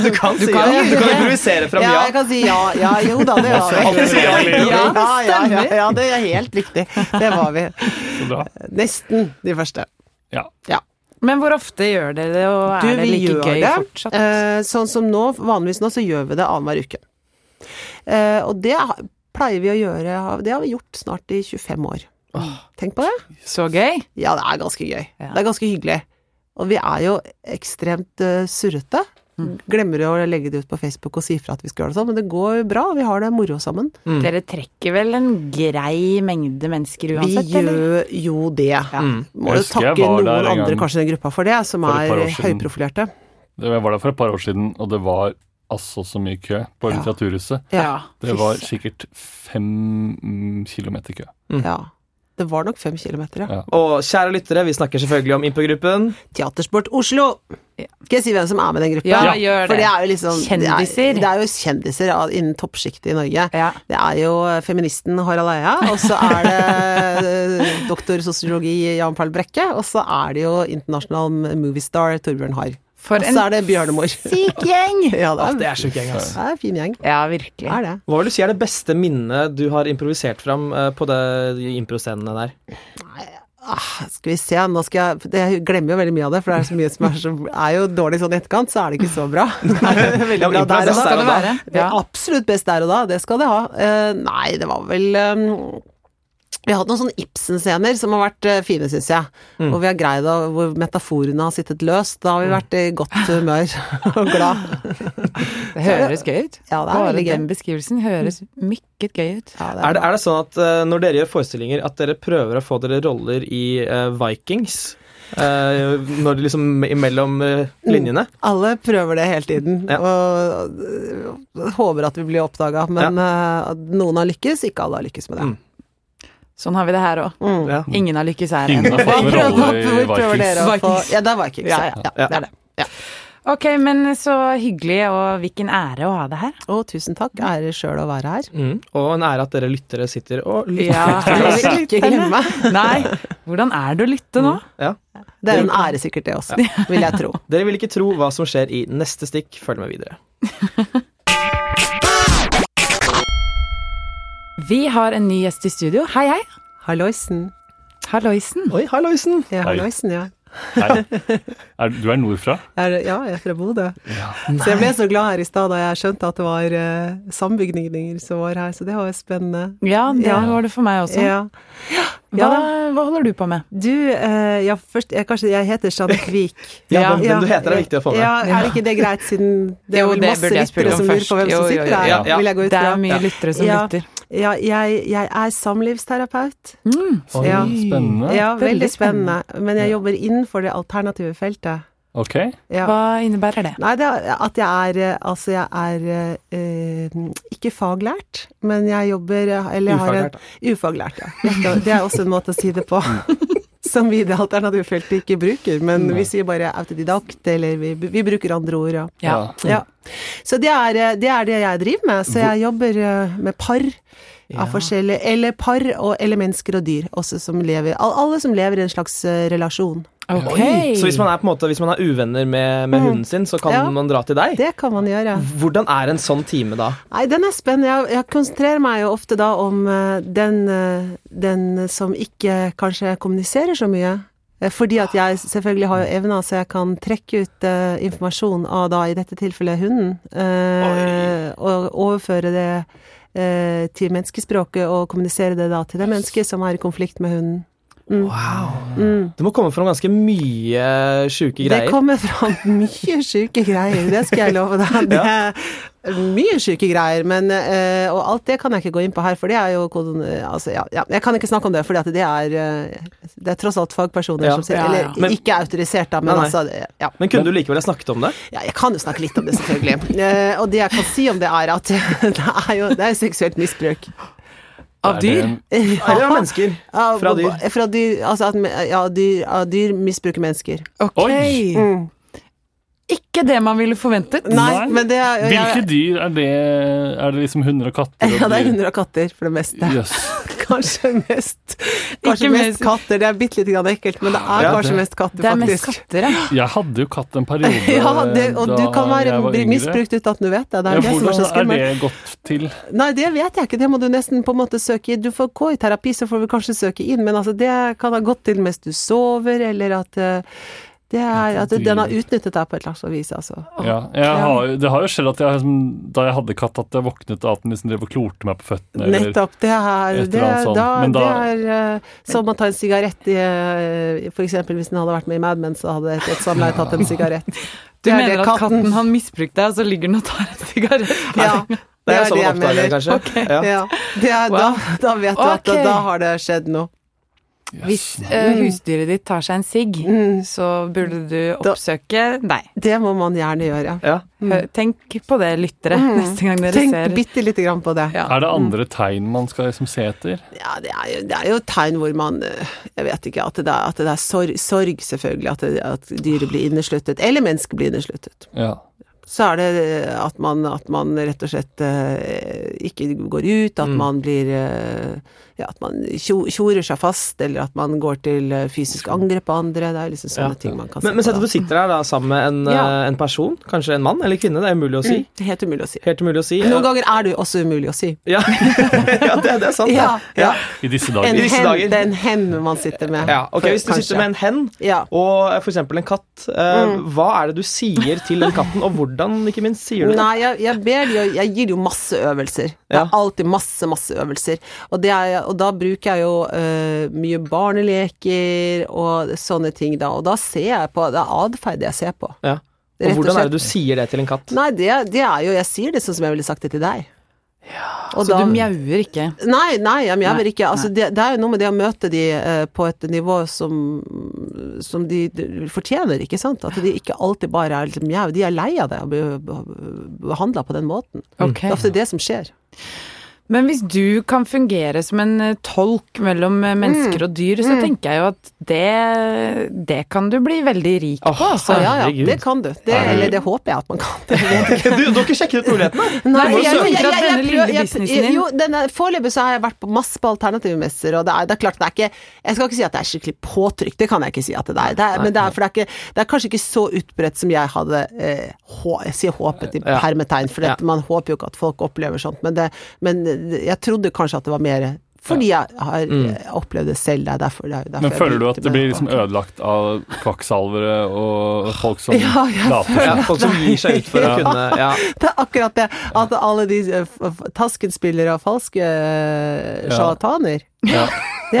Speaker 1: Du kan, si
Speaker 7: kan
Speaker 1: ja.
Speaker 7: gjøre
Speaker 1: Du kan
Speaker 7: det.
Speaker 1: improvisere fram
Speaker 7: Ja,
Speaker 1: ja.
Speaker 7: jeg kan si ja. Ja, jo da, det var vi.
Speaker 1: Alltid si ja, Leo.
Speaker 7: Ja, ja, ja, ja, det er helt riktig. Det var vi.
Speaker 3: Så bra.
Speaker 7: Nesten de første.
Speaker 3: Ja.
Speaker 2: Men hvor ofte gjør dere det, og er
Speaker 7: Du,
Speaker 2: det
Speaker 7: vi
Speaker 2: like
Speaker 7: gjør
Speaker 2: gøy
Speaker 7: det.
Speaker 2: fortsatt?
Speaker 7: Eh, sånn som nå, vanligvis nå, så gjør vi det annenhver uke. Eh, og det ha- pleier vi å gjøre Det har vi gjort snart i 25 år. Tenk på det.
Speaker 2: Så gøy?
Speaker 7: Ja, det er ganske gøy.
Speaker 2: Ja.
Speaker 7: Det er ganske hyggelig. Og vi er jo ekstremt eh, surrete.
Speaker 2: Mm.
Speaker 7: Glemmer å legge det ut på Facebook og si fra at vi skal gjøre det sånn, men det går jo bra. og Vi har det moro sammen.
Speaker 2: Dere trekker vel en grei mengde mennesker
Speaker 7: Vi
Speaker 2: uansett, eller?
Speaker 7: gjør jo det. Må
Speaker 3: Mm. Jeg husker
Speaker 7: jo
Speaker 3: jeg
Speaker 7: takke
Speaker 3: var
Speaker 7: noen
Speaker 3: der en gang
Speaker 7: andre kanskje i den gruppa for det, som
Speaker 3: for et par
Speaker 7: er
Speaker 3: år siden.
Speaker 7: høyprofilerte.
Speaker 3: Det jeg var der for et par år siden, og det var altså så mye kø på Litteraturhuset.
Speaker 7: Ja.
Speaker 3: Det var sikkert fem mm, kilometer kø.
Speaker 7: ja. Det var nok fem kilometer, ja.
Speaker 1: Og kjære lyttere, vi snakker selvfølgelig om impro-gruppen.
Speaker 7: Teatersport Oslo. Skal jeg si hvem som er med i den gruppa?
Speaker 2: Ja, gjør det.
Speaker 7: For det er jo liksom
Speaker 2: Kjendiser.
Speaker 7: Det er, det er jo kjendiser ja, innen toppsjiktet i Norge.
Speaker 2: Ja.
Speaker 7: Det er jo eh, feministen Harald Eia, og så er det eh, doktor sosiologi Jan Perl Brekke, og så er det jo internasjonal moviestar Torbjørn Harr.
Speaker 2: For
Speaker 7: Og
Speaker 2: en
Speaker 7: så er det Bjørnemor.
Speaker 2: syk gjeng!
Speaker 7: Ja, det
Speaker 1: Å,
Speaker 7: er,
Speaker 1: det er sjuk gjeng, ass.
Speaker 7: det er en fin gjeng.
Speaker 2: Ja,
Speaker 7: Det
Speaker 2: virkelig.
Speaker 7: er det.
Speaker 1: Hva vil du si er det beste minnet du har improvisert fram eh, på det- de impro-scenene der?
Speaker 7: Ah, skal vi se, nå skal jeg for Jeg glemmer jo veldig mye av det, for det er så mye som er, så, er jo dårlig sånn i etterkant, så er det ikke så bra. Det er veldig bra
Speaker 1: men
Speaker 7: der
Speaker 1: det
Speaker 7: og da.
Speaker 1: skal det
Speaker 2: være.
Speaker 7: Det er
Speaker 2: Ja.
Speaker 7: absolutt best der og da, det skal det ha. Eh, nei, det var vel eh, vi har hatt noen sånne Ibsen-scener som har vært eh, fine, syns jeg. Hvor vi har greid å, hvor metaforene har sittet løst. Da har vi vært i godt humør og glad.
Speaker 2: Det høres gøy ut.
Speaker 7: Ja, det er
Speaker 2: Bare
Speaker 7: veldig gøy.
Speaker 2: den beskrivelsen høres mykket gøy ut.
Speaker 7: Ja, det
Speaker 1: Er det, er det sånn at eh, når dere gjør forestillinger, at dere prøver å få dere roller i eh, Vikings? Eh, når det liksom me- imellom eh, linjene?
Speaker 7: Alle prøver det hele tiden,
Speaker 1: Ja.
Speaker 7: og øh, håper at vi blir oppdaga. Men øh, at noen har lykkes, ikke alle har lykkes med det.
Speaker 2: Sånn har vi det her òg.
Speaker 1: Ja.
Speaker 2: Ingen har lykkes her
Speaker 3: Ingen
Speaker 2: ennå.
Speaker 3: har fått en
Speaker 7: Prøv-
Speaker 3: rolle i
Speaker 7: hvor prøver dere
Speaker 3: Vikings.
Speaker 7: å få
Speaker 2: Vikings.
Speaker 7: Ja, det er Vikings. Ja, ja,
Speaker 1: Ja.
Speaker 7: det er det.
Speaker 2: Ok, men så hyggelig, og hvilken ære å ha det her.
Speaker 7: Og tusen takk. Ære sjøl å være her.
Speaker 1: Mm. Og en ære at dere lyttere sitter og lytter.
Speaker 2: Ja,
Speaker 7: Det vil vi ikke glemme.
Speaker 2: Nei, hvordan er det å lytte nå?
Speaker 1: Ja.
Speaker 7: Det er en ære sikkert, det også, vil jeg tro.
Speaker 1: Dere vil ikke tro hva som skjer i neste stikk. Følg med videre.
Speaker 2: Vi har en ny gjest i studio. Hei, hei.
Speaker 7: Halloisen.
Speaker 2: Halloisen.
Speaker 1: Oi, halloisen!
Speaker 3: Hei.
Speaker 7: Ja, halloisen, ja.
Speaker 3: Hei. Er, du er nordfra?
Speaker 7: Jeg er, ja, jeg er fra Bodø. Så jeg ble så glad her i stad da jeg skjønte at det var eh, sambygninger som var her, så det var jo spennende.
Speaker 2: Ja, det
Speaker 7: Ja.
Speaker 2: var det for meg også.
Speaker 7: Ja.
Speaker 2: Hva,
Speaker 7: da.
Speaker 2: hva holder du på med?
Speaker 7: Du, eh, ja, først jeg, Kanskje jeg heter Jeanette Vik.
Speaker 1: Ja, hvem- hvem du heter er viktig å få med.
Speaker 7: Ja, er det ikke det greit, siden det er
Speaker 2: Jo,
Speaker 7: vel
Speaker 2: det
Speaker 7: masse
Speaker 2: burde jeg spørre om
Speaker 7: lyttere som lurer
Speaker 2: først.
Speaker 7: på hvem
Speaker 2: Jo,
Speaker 7: som
Speaker 2: jo,
Speaker 7: sitter
Speaker 2: jo,
Speaker 7: her?
Speaker 1: ja.
Speaker 7: Vil jeg gå ut
Speaker 2: Det
Speaker 7: fra?
Speaker 2: er mye lyttere som
Speaker 7: Ja.
Speaker 2: lytter.
Speaker 7: Ja, jeg, jeg er samlivsterapeut.
Speaker 3: Oi,
Speaker 7: Ja.
Speaker 3: Spennende.
Speaker 7: Ja,
Speaker 2: veldig
Speaker 7: veldig spennende. Men jeg jobber innenfor det alternative feltet.
Speaker 3: Ok.
Speaker 7: Ja.
Speaker 2: Hva innebærer det?
Speaker 7: Nei, det er at jeg er eh, Altså, jeg er eh, ikke faglært, men jeg jobber eh, eller jeg
Speaker 1: Ufaglært,
Speaker 7: Har en, ufaglært, ja. Dette- Det er også en måte å si det på. Som vi i det alternativfeltet ikke bruker, men vi sier bare autodidakt, eller vi, vi bruker andre ord. Ja.
Speaker 2: Ja.
Speaker 7: Ja. Så det er, det er det jeg driver eh, med. Så jeg jobber eh, med par. av forskjellige Eller par, og, eller mennesker og dyr. Også som lever, al- alle som lever i en slags eh, relasjon.
Speaker 2: Ok.
Speaker 1: Så hvis man er på en måte Hvis man er uvenner med, med hunden sin, så kan
Speaker 7: Mm. Ja.
Speaker 1: man dra til deg?
Speaker 7: Det kan man gjøre.
Speaker 1: Hvordan er en sånn time da?
Speaker 7: Nei, den er spennende. Jeg, jeg konsentrerer meg jo ofte da om eh, den, eh, den som ikke kanskje kommuniserer så mye. Eh, Fordi at jeg selvfølgelig har jo evner, så jeg kan trekke ut eh, informasjon av da i dette tilfellet hunden. eh, og overføre det eh, til menneskespråket, og kommunisere det da til det mennesket som er i konflikt med hunden.
Speaker 1: Det må komme fram ganske mye sjuke
Speaker 7: Mm. Det
Speaker 1: greier.
Speaker 7: kommer fram mye sjuke greier, det skal jeg love deg. Det er mye sjuke greier, men eh, Og alt det kan jeg ikke gå inn på her, for det er jo kon- eh, Altså, ja, ja. Jeg kan ikke snakke om det, fordi at det er eh, Det er tross alt fagpersoner
Speaker 1: Ja.
Speaker 7: som sier
Speaker 2: Ja, ja.
Speaker 7: Eller
Speaker 1: Men-
Speaker 7: ikke autorisert, da, men
Speaker 1: Nei, nei.
Speaker 7: altså det- ja.
Speaker 1: Men kunne du likevel ha snakket om det?
Speaker 7: ja. Jeg kan jo snakke litt om det, selvfølgelig. Eh, og det jeg kan si om det, er at det er jo det er seksuelt misbruk.
Speaker 2: Av dyr?
Speaker 1: Eller av mennesker?
Speaker 7: Av-
Speaker 1: Fra dyr?
Speaker 7: Fra dyr altså at ja, dyr, ja, dyr misbruker mennesker.
Speaker 2: Ok. Mm. Ikke det man ville forventet.
Speaker 7: Nei,
Speaker 3: Nei.
Speaker 7: men det er
Speaker 3: Hvilke dyr er det? Er det liksom hunder og katter? og
Speaker 7: Eh, Ja, det er
Speaker 3: dyr?
Speaker 7: hunder og katter, for det meste.
Speaker 3: Jøss.
Speaker 7: Kanskje mest, kanskje
Speaker 2: Ikke
Speaker 7: mest
Speaker 2: mer-
Speaker 7: katter. Det er bitte litt grann ekkelt, men det er
Speaker 1: Ja,
Speaker 7: kanskje
Speaker 1: det-
Speaker 7: mest katter,
Speaker 2: Det er mest
Speaker 7: faktisk.
Speaker 2: katter, ja.
Speaker 3: Jeg hadde jo katt en periode
Speaker 7: Ja, det, og
Speaker 3: Eh, da
Speaker 7: du kan være,
Speaker 3: jeg var
Speaker 7: bli
Speaker 3: yngre.
Speaker 7: misbrukt uten at du vet det. Det er
Speaker 3: Ja,
Speaker 7: jo det som er
Speaker 3: hvordan
Speaker 7: så
Speaker 3: er
Speaker 7: skummelt.
Speaker 3: det gått til?
Speaker 7: Nei, det vet jeg ikke. Det må du nesten på en måte søke i. Du får gå i terapi, så får vi kanskje søke inn, men altså, det kan ha gått til mens du sover, eller at eh, det er, at den har utnyttet deg på et eller annet vis, altså.
Speaker 3: Ja, jeg har, jo- det har jo skjedd at jeg, liksom- da jeg hadde katt, at jeg våknet av at den liksom drev og klorte meg på føttene. eller-
Speaker 7: Nettopp. Det er,
Speaker 3: et
Speaker 7: det,
Speaker 3: eller annet
Speaker 7: er-
Speaker 3: sånt.
Speaker 7: da,
Speaker 3: Men
Speaker 7: det
Speaker 3: da-
Speaker 7: er eh, som å ta en sigarett i eh, For eksempel hvis den hadde vært med i Mad Men, så hadde et, et samleie tatt en sigarett.
Speaker 2: Du
Speaker 7: Det er
Speaker 2: mener
Speaker 7: det
Speaker 2: at katten, har misbrukt deg, og så ligger den og tar en sigarett?
Speaker 7: Ja,
Speaker 1: Det er jo sånn
Speaker 7: jeg
Speaker 1: man oppdager det,
Speaker 7: mener.
Speaker 1: kanskje. Ja.
Speaker 7: Ja, det er,
Speaker 2: Wow.
Speaker 7: da, da vet du at
Speaker 2: Ok.
Speaker 7: da har det skjedd noe.
Speaker 2: Hvis eh, husdyret ditt tar seg en sigg, så burde du
Speaker 7: Mm. Da-
Speaker 2: oppsøke deg.
Speaker 7: Det må man gjerne gjøre.
Speaker 1: Ja.
Speaker 2: Tenk på det, lyttere, neste gang dere
Speaker 7: Mm. Tenk
Speaker 2: ser
Speaker 7: bitte lite grann på det.
Speaker 2: Ja.
Speaker 3: Er det andre
Speaker 7: Mm.
Speaker 3: tegn man skal liksom se etter?
Speaker 7: Ja, det er, jo, det er jo tegn hvor man eh, Jeg vet ikke. At det er, at det er sorg, sorg, selvfølgelig. At, det, at dyret blir innesluttet. Eller mennesket blir innesluttet.
Speaker 3: Ja.
Speaker 7: Så er det eh, at man, at man rett og slett eh, ikke går ut.
Speaker 1: Mm.
Speaker 7: At man blir eh, Ja, at man tjo- tjorer seg fast. Eller at man går til eh, fysisk angrep på andre. Det er liksom sånne ting man kan
Speaker 1: Men, men
Speaker 7: på
Speaker 1: sett at
Speaker 7: da.
Speaker 1: du sitter her da sammen med en,
Speaker 7: Ja.
Speaker 1: eh, en person, kanskje en mann eller kvinne, det er umulig å si.
Speaker 7: Det er Mm, helt umulig å si.
Speaker 1: Helt umulig å si.
Speaker 7: Noen ganger er det jo også umulig å si.
Speaker 1: Ja, ja det, det er sant. det.
Speaker 7: Ja, ja.
Speaker 3: I disse
Speaker 7: En
Speaker 3: dager.
Speaker 1: disse
Speaker 7: hen,
Speaker 1: dager.
Speaker 7: det er en hen man sitter med.
Speaker 1: Ja, ok,
Speaker 7: For-
Speaker 1: Hvis du
Speaker 7: kanskje.
Speaker 1: sitter med en hen
Speaker 7: ja.
Speaker 1: og eh, for eksempel en katt, eh,
Speaker 7: Mm.
Speaker 1: hva er det du sier til den katten, og hvordan, ikke minst, sier du det?
Speaker 7: Nei, jeg, jeg ber jo Jeg gir jo masse øvelser. Det
Speaker 1: Ja.
Speaker 7: er alltid masse, masse øvelser. Og, det er, og da bruker jeg jo eh, mye barneleker og sånne ting, da. Og da ser jeg på Det er atferd jeg ser på.
Speaker 1: Ja.
Speaker 7: Rett
Speaker 1: Og
Speaker 7: og
Speaker 1: hvordan er
Speaker 7: slett.
Speaker 1: det du sier det til en katt?
Speaker 7: Nei, det, det er jo Jeg sier det sånn som jeg ville sagt det til deg. Og
Speaker 2: Så
Speaker 7: da-
Speaker 2: du mjauer ikke.
Speaker 7: Nei, nei, jeg mener
Speaker 2: Nei,
Speaker 7: ikke altså,
Speaker 2: nei.
Speaker 7: det, det er jo noe med det å møte de eh, på et nivå som, som de, de fortjener, ikke sant? At de ikke alltid bare er liksom mjau. De er lei av det, å bli behandla på den måten.
Speaker 2: Ok.
Speaker 7: Det er ofte det som skjer.
Speaker 2: Men hvis du kan fungere som en eh, tolk mellom eh,
Speaker 7: Mm.
Speaker 2: mennesker og dyr, så tenker jeg jo at det, det kan du bli veldig rik
Speaker 1: Åh,
Speaker 2: på, altså.
Speaker 7: Så ja, ja,
Speaker 1: Herregud.
Speaker 7: det kan du. Det, eller det håper jeg at man kan.
Speaker 1: Du, du har ikke sjekket ut mulighetene?
Speaker 2: Nei,
Speaker 1: må
Speaker 2: jeg,
Speaker 1: søke.
Speaker 2: jeg, jeg,
Speaker 7: jeg-
Speaker 2: denne
Speaker 7: jeg
Speaker 2: lille
Speaker 7: prøver- jeg-
Speaker 2: businessen din
Speaker 7: Jo, denne- foreløpig så har jeg vært på masse på alternative messer, og det er, det er klart det er ikke Jeg skal ikke si at det er skikkelig påtrykk, det kan jeg ikke si at det er. Det er men det er, for det er, ikke, det er kanskje ikke så utbredt som jeg hadde eh, hå, Jeg sier håpet i
Speaker 1: Ja.
Speaker 7: hermetegn, for dette, man håper jo ikke at folk opplever sånt, men, det, men jeg trodde kanskje at det var mer fordi jeg har eh, opplevd det selv. Det er derfor, det er jo derfor
Speaker 3: Mm. Men
Speaker 7: jeg
Speaker 3: føler du at
Speaker 7: begynte
Speaker 3: det
Speaker 7: med
Speaker 3: blir liksom
Speaker 7: håpet.
Speaker 3: ødelagt av kvakksalvere og folk som
Speaker 7: Ja, jeg
Speaker 3: later
Speaker 1: Ja,
Speaker 3: som?
Speaker 1: folk som gir seg ut for å kunne ja.
Speaker 7: Det er akkurat det. At alle de eh, f- f- taskenspillere og falske eh,
Speaker 3: Ja.
Speaker 7: sjarlataner.
Speaker 3: Ja.
Speaker 7: Det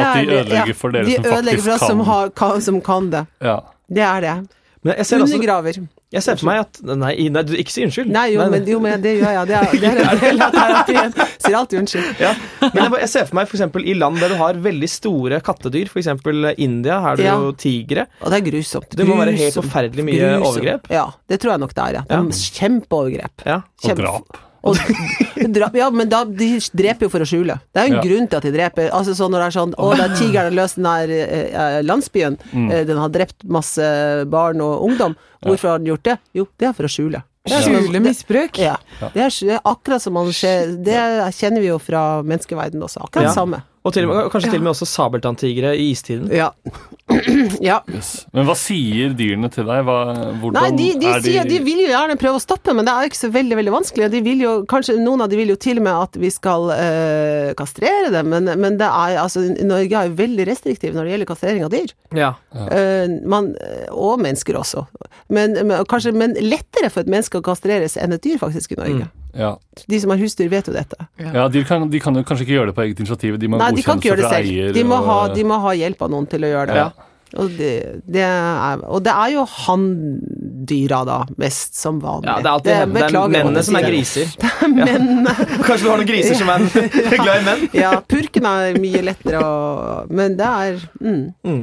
Speaker 3: At de
Speaker 7: er det,
Speaker 3: ødelegger for dere
Speaker 7: de
Speaker 3: som faktisk
Speaker 7: ødelegger for oss
Speaker 3: kan.
Speaker 7: Som, har, kan, som kan det.
Speaker 3: Ja.
Speaker 7: Det er det.
Speaker 1: Men jeg ser, også,
Speaker 7: Undergraver.
Speaker 1: jeg ser for meg at Nei, nei du, ikke si unnskyld.
Speaker 7: Nei, jo,
Speaker 1: Nei, nei.
Speaker 7: men, jo, men det gjør jeg. Det er, det er en del av terapien. Sier alltid unnskyld.
Speaker 1: Ja. Men jeg, bare- jeg ser for meg for eksempel, i land der du har veldig store kattedyr, f.eks. India, her er det
Speaker 7: Ja.
Speaker 1: jo tigre.
Speaker 7: Og det er grusomt.
Speaker 1: Det må være helt
Speaker 7: Grusomt.
Speaker 1: forferdelig mye
Speaker 7: Grusomt.
Speaker 1: overgrep.
Speaker 7: Ja, det tror jeg nok det er, ja. Det
Speaker 1: Ja.
Speaker 7: er Kjempeovergrep.
Speaker 1: Ja.
Speaker 3: Og
Speaker 7: Kjempe-
Speaker 3: drap.
Speaker 7: Og drap, ja, men da, de dreper jo for å skjule. Det er jo en
Speaker 3: Ja.
Speaker 7: grunn til at de dreper. Altså sånn når det er sånn Å, det er tigeren løs den der eh, eh, landsbyen. Eh, Den har drept masse barn og ungdom. Hvorfor har den gjort det? Jo, det er for å skjule. er som-
Speaker 2: Skjule misbruk.
Speaker 7: Ja. Det er det er akkurat som man skjer Det kjenner vi jo fra menneskeverdenen også. Akkurat
Speaker 1: Ja.
Speaker 7: samme.
Speaker 1: Og til, og med- kanskje til og med også sabeltanntigre i istiden.
Speaker 7: Ja. ja.
Speaker 3: Yes. Men hva sier dyrene til deg? Hva, hvordan
Speaker 7: Nei, de, de,
Speaker 3: er
Speaker 7: sier, de vil jo gjerne prøve å stoppe, men det er jo ikke så veldig veldig vanskelig. Og de vil jo, kanskje Noen av de vil jo til og med at vi skal eh, kastrere dem, men, men det er, altså, Norge er jo veldig restriktiv når det gjelder kastrering av dyr.
Speaker 1: Ja.
Speaker 7: Eh, man, og mennesker også. Men, men, kanskje, men lettere for et menneske å kastreres enn et dyr, faktisk, i Norge.
Speaker 3: ja.
Speaker 7: De som har husdyr, vet jo dette.
Speaker 3: ja, de kan, de kan jo kanskje ikke gjøre det på eget initiativ. De må
Speaker 7: Nei,
Speaker 3: ha
Speaker 7: de kan ikke
Speaker 3: godkjennelse
Speaker 7: gjøre det
Speaker 3: fra
Speaker 7: selv.
Speaker 3: eier.
Speaker 7: De må,
Speaker 3: og-
Speaker 7: ha, de må ha hjelp av noen til å gjøre det.
Speaker 3: Ja.
Speaker 7: Og, det, det er, og det er jo hanndyra, da, mest som vanlig.
Speaker 1: ja, det er alltid henne- det er
Speaker 7: beklager jeg
Speaker 1: mennene
Speaker 7: måtte
Speaker 1: som
Speaker 7: si
Speaker 1: er
Speaker 7: det.
Speaker 1: griser. Kanskje du har noen griser som er glad i menn?
Speaker 7: Ja, purken er mye lettere å Men det er mm.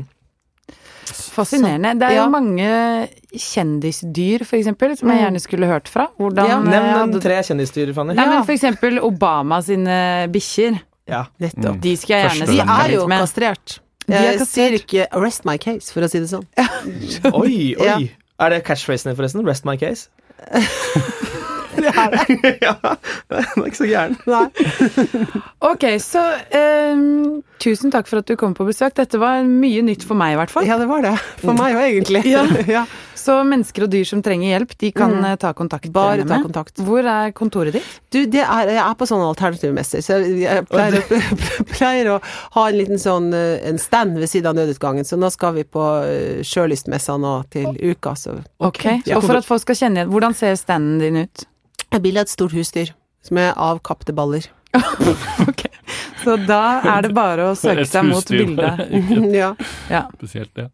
Speaker 2: Fascinerende. Det er jo
Speaker 7: Ja. Mm.
Speaker 2: mange kjendisdyr, for eksempel, som jeg gjerne skulle hørt fra. Hvordan
Speaker 7: Ja.
Speaker 2: eh,
Speaker 1: Nevn
Speaker 2: hadde-
Speaker 1: tre kjendisdyr, Fanny.
Speaker 2: Nei,
Speaker 7: Ja.
Speaker 2: men for eksempel Obama sine bikkjer.
Speaker 1: Ja.
Speaker 7: Nettopp.
Speaker 2: De skal jeg gjerne
Speaker 3: Første
Speaker 7: De
Speaker 2: snakke
Speaker 7: Mm. er jo
Speaker 2: litt med.
Speaker 7: kastrert.
Speaker 2: De er
Speaker 7: Jeg sier
Speaker 2: kastrert.
Speaker 7: ikke 'arrest my case', for å si det sånn.
Speaker 1: Oi, oi.
Speaker 7: Ja.
Speaker 1: Er det catchphrasen din, forresten? Rest my case?
Speaker 7: Det er det.
Speaker 1: ja, den er ikke så gæren.
Speaker 7: Nei.
Speaker 2: Ok, så eh, tusen takk for at du kom på besøk. Dette var mye nytt for meg, i hvert fall.
Speaker 7: Ja, det var det. For meg òg, egentlig.
Speaker 2: Ja.
Speaker 7: Mm. Ja.
Speaker 2: Så mennesker og dyr som trenger hjelp, de kan eh, ta kontakt
Speaker 7: Mm. Bare
Speaker 2: med
Speaker 7: ta
Speaker 2: meg.
Speaker 7: kontakt.
Speaker 2: Hvor er kontoret ditt?
Speaker 7: Du, det er, jeg er på sånn alternativ mester, så jeg, jeg pleier, å, pleier å ha en liten sånn eh, en stand ved siden av nødutgangen, så nå skal vi på eh, sjølystmessa nå til uka, så
Speaker 2: Ok,
Speaker 7: ja.
Speaker 2: Og for at folk skal kjenne igjen, hvordan ser standen din ut?
Speaker 7: Et bilde av et stort husdyr med avkapte baller.
Speaker 2: Ok, Så da er det bare å søke
Speaker 3: Et
Speaker 2: seg mot
Speaker 3: husdyr.
Speaker 2: bildet.
Speaker 3: Ikke
Speaker 7: ja.
Speaker 2: Ja.
Speaker 3: spesielt, ja.